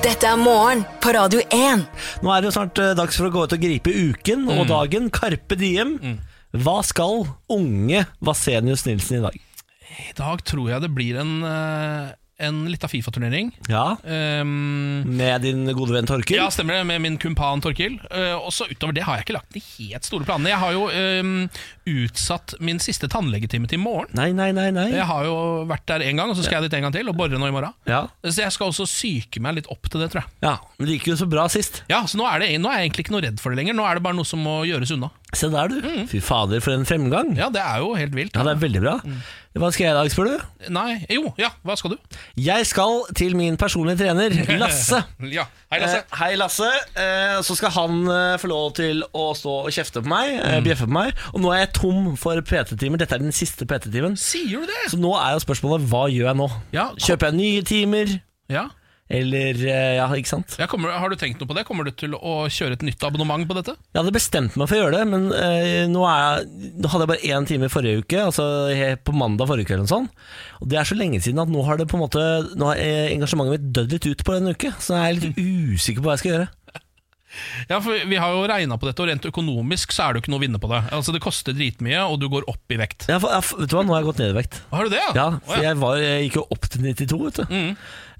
[SPEAKER 5] Dette er morgen på Radio 1.
[SPEAKER 4] Nå er det jo snart eh, dags for å gå ut og gripe uken
[SPEAKER 3] Mm.
[SPEAKER 4] og dagen. Carpe diem. Hva skal unge Vasenius Nilsen i dag?
[SPEAKER 3] I dag tror jeg det blir en eh, en lita Fifa-turnering. Ehm,
[SPEAKER 4] Ja. med din gode venn Torkil?
[SPEAKER 3] Ja, stemmer det, med min kumpan Torkil. Eh, og så utover det har jeg ikke lagt de helt store planene. Jeg har jo ehm, utsatt min siste tannlegetime til i morgen.
[SPEAKER 4] Nei, nei, nei, nei.
[SPEAKER 3] Jeg har jo vært der én gang, og så skal jeg dit en gang til og bore nå i morgen.
[SPEAKER 4] Ja.
[SPEAKER 3] Så jeg skal også syke meg litt opp til det, tror jeg.
[SPEAKER 4] Ja, men Det gikk jo så bra sist.
[SPEAKER 3] Ja, så nå er, det, nå er jeg egentlig ikke noe redd for det lenger. Nå er det bare noe som må gjøres unna.
[SPEAKER 4] Se der, du. Fy fader, for en fremgang.
[SPEAKER 3] Mm. Ja, Mm. det er jo helt vilt.
[SPEAKER 4] Ja, det er veldig bra. Hva skal jeg i dag, spør du?
[SPEAKER 3] Nei, jo, ja, hva skal du?
[SPEAKER 4] Jeg skal til min personlige trener, Lasse.
[SPEAKER 3] ja, Hei, Lasse.
[SPEAKER 4] Eh, hei, Lasse. Eh, så skal han eh, få lov til å stå og kjefte på meg,
[SPEAKER 3] Mm.
[SPEAKER 4] eh, bjeffe på meg. Og nå er jeg tom for PT-timer. Dette er den siste PT-timen.
[SPEAKER 3] Sier du det?
[SPEAKER 4] Så nå er jo spørsmålet hva gjør jeg nå?
[SPEAKER 3] Ja,
[SPEAKER 4] Kjøper jeg nye timer?
[SPEAKER 3] Ja.
[SPEAKER 4] Eller eh, Ja, ikke sant?
[SPEAKER 3] Ja, kommer, har du tenkt noe på det? Kommer du til å kjøre et nytt abonnement på dette?
[SPEAKER 4] Jeg hadde bestemt meg for å gjøre det, men eh, nå, er jeg, nå hadde jeg bare én time forrige uke, altså he- på mandag forrige uke eller noe sånt. Og det er så lenge siden at nå har det på en måte Nå har eh, engasjementet mitt dødd litt ut på en uke, så jeg er litt
[SPEAKER 3] Mm.
[SPEAKER 4] usikker på hva jeg skal gjøre.
[SPEAKER 3] Ja, for Vi har jo regna på dette, og rent økonomisk så er det jo ikke noe å vinne på det. Altså Det koster dritmye, og du går opp i vekt.
[SPEAKER 4] Jeg, har- jeg, har- vet du hva, nå har jeg gått ned i vekt.
[SPEAKER 3] Har du det?
[SPEAKER 4] Ja,
[SPEAKER 3] Å,
[SPEAKER 4] for jeg, var, jeg gikk jo opp til 92, vet du.
[SPEAKER 3] Mm.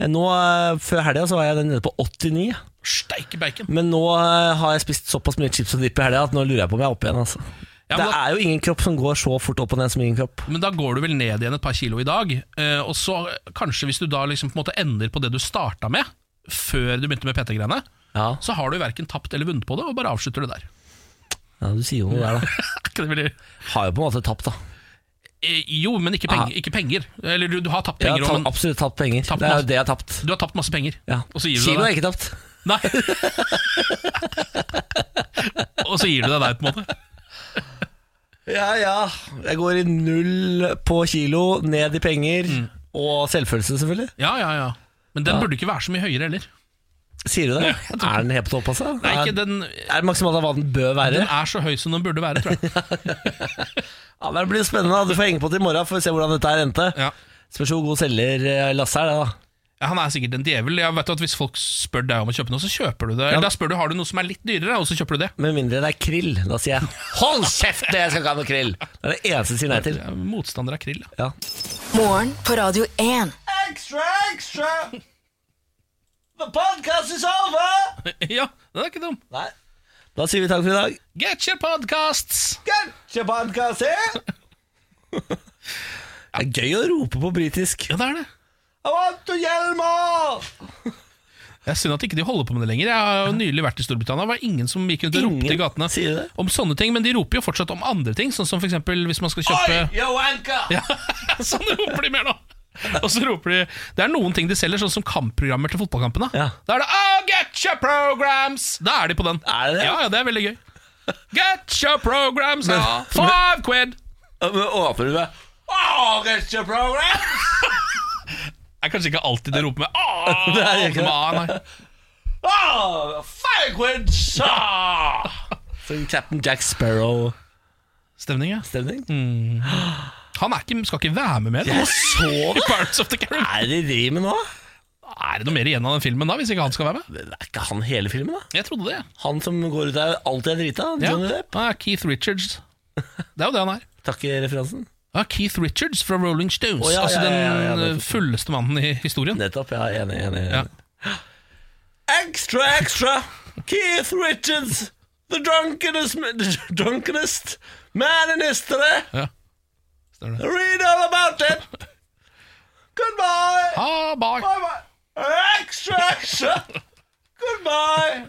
[SPEAKER 4] Eh, Nå, eh, før helga så var jeg nede på 89.
[SPEAKER 3] Steike bacon.
[SPEAKER 4] Men nå eh, har jeg spist såpass mye chips og dipp i helga at nå lurer jeg på om jeg er oppe igjen. Altså.
[SPEAKER 3] Ja,
[SPEAKER 4] det
[SPEAKER 3] men da-
[SPEAKER 4] er jo ingen kropp som går så fort opp og ned som ingen kropp.
[SPEAKER 3] Men da går du vel ned igjen et par kilo i dag, eh, og så kanskje hvis du da liksom på en måte ender på det du starta med, før du begynte med PT-greiene, så har du verken tapt eller vunnet på det, og bare avslutter det der.
[SPEAKER 4] Ja, Du sier jo noe der, da.
[SPEAKER 3] Er ikke det veldig...
[SPEAKER 4] Har jo på en måte tapt, da.
[SPEAKER 3] Eh, Jo, men ikke
[SPEAKER 4] Ah.
[SPEAKER 3] penger. Ikke penger. Eller du, du har tapt penger.
[SPEAKER 4] jeg har tapt,
[SPEAKER 3] også, men
[SPEAKER 4] absolutt tapt penger.
[SPEAKER 3] Tapt
[SPEAKER 4] det er
[SPEAKER 3] masse-
[SPEAKER 4] jo det jeg har tapt.
[SPEAKER 3] du har tapt masse penger.
[SPEAKER 4] Ja.
[SPEAKER 3] Og så gir du
[SPEAKER 4] Kilo har
[SPEAKER 3] deg der.
[SPEAKER 4] jeg ikke tapt.
[SPEAKER 3] Og så gir du deg der, på en måte.
[SPEAKER 4] Ja, ja. Jeg går i null på kilo, ned i penger.
[SPEAKER 3] Mm.
[SPEAKER 4] Og selvfølelse, selvfølgelig.
[SPEAKER 3] Ja, ja, ja. Men den burde ikke være så mye høyere heller.
[SPEAKER 4] Sier du det? Er den helt på topp, altså?
[SPEAKER 3] Nei, ikke den,
[SPEAKER 4] Er det maksimalt av hva den bør være?
[SPEAKER 3] den er så høy som den burde være, tror jeg.
[SPEAKER 4] Ja, men Det blir spennende. da. Du får henge på til i morgen for å se hvordan dette her endte. Spørs hvor god selger eh, Lasse er, det da.
[SPEAKER 3] Ja, han er sikkert en djevel. Jeg vet at Hvis folk spør deg om å kjøpe noe, så kjøper du det. Eller da spør du har du noe som er litt dyrere, og så kjøper du det.
[SPEAKER 4] Med mindre det er krill. Da sier jeg 'hold kjeft, det jeg skal ikke ha noe krill'! Det er det eneste jeg sier nei til.
[SPEAKER 3] Motstander av krill,
[SPEAKER 4] ja.
[SPEAKER 5] Morgen på Radio 1.
[SPEAKER 2] Extra, extra! The podcast is over!
[SPEAKER 3] ja, den er ikke dum.
[SPEAKER 4] Da sier vi takk for i dag.
[SPEAKER 3] Get your podcasts!
[SPEAKER 2] Get your podcast here!
[SPEAKER 4] Det er gøy å rope på britisk.
[SPEAKER 3] Ja, det er det.
[SPEAKER 2] I want to yell more!
[SPEAKER 3] Det er synd at ikke de holder på med det lenger. Jeg har jo nylig vært i Storbritannia. Det var ingen som gikk rundt og ropte i gatene om sånne ting, men de roper jo fortsatt om andre ting, sånn som for eksempel hvis man skal kjøpe
[SPEAKER 2] Oi, yo anchor!
[SPEAKER 3] Ja, sånn roper de mer nå. Og så roper de Det er noen ting de selger, sånn som kampprogrammer til fotballkampene. Da er det Oh, get your programs! Da er de på den.
[SPEAKER 4] Er det det?
[SPEAKER 3] Ja, ja, det er veldig gøy. Get your programs, ja. Five quid!
[SPEAKER 4] Men åpner du det?
[SPEAKER 2] Oh, get your program!
[SPEAKER 3] Det er kanskje ikke alltid de roper med Åh,
[SPEAKER 4] Det er ikke det.
[SPEAKER 3] ma, nei.
[SPEAKER 2] Oh, five quid! Ah!
[SPEAKER 4] Som Sånn Captain Jack Sparrow.
[SPEAKER 3] Stemning, ja.
[SPEAKER 4] Stemning?
[SPEAKER 3] Mm. Han er ikke, skal ikke være med mer. nå.
[SPEAKER 4] Jeg så
[SPEAKER 3] I Pirates of the Caribbean.
[SPEAKER 4] Er det de driver med nå?
[SPEAKER 3] Er det noe mer igjen av den filmen da, hvis ikke han skal være med?
[SPEAKER 4] Det er ikke han hele filmen, da?
[SPEAKER 3] Jeg trodde det.
[SPEAKER 4] Han som går ut der alltid er drita?
[SPEAKER 3] Ja.
[SPEAKER 4] Johnny Depp?
[SPEAKER 3] Ah, Keith Richards. Det er jo det han er.
[SPEAKER 4] Takk i referansen.
[SPEAKER 3] Ja, Keith Richards fra Rolling Stones.
[SPEAKER 4] Å, ja,
[SPEAKER 3] altså
[SPEAKER 4] ja,
[SPEAKER 3] den
[SPEAKER 4] ja, ja, nettopp.
[SPEAKER 3] eh, fulleste mannen i historien.
[SPEAKER 4] Nettopp, ja. Enig, enig. enig.
[SPEAKER 3] Ja.
[SPEAKER 4] Extra, extra! Keith Richards! The drunkenest, the drunkenest man in history!
[SPEAKER 3] Ja. Står det.
[SPEAKER 4] eh? Read all about it!
[SPEAKER 2] Goodbye!
[SPEAKER 3] Ah, bye.
[SPEAKER 2] Bye-bye. Extra, extra! Goodbye!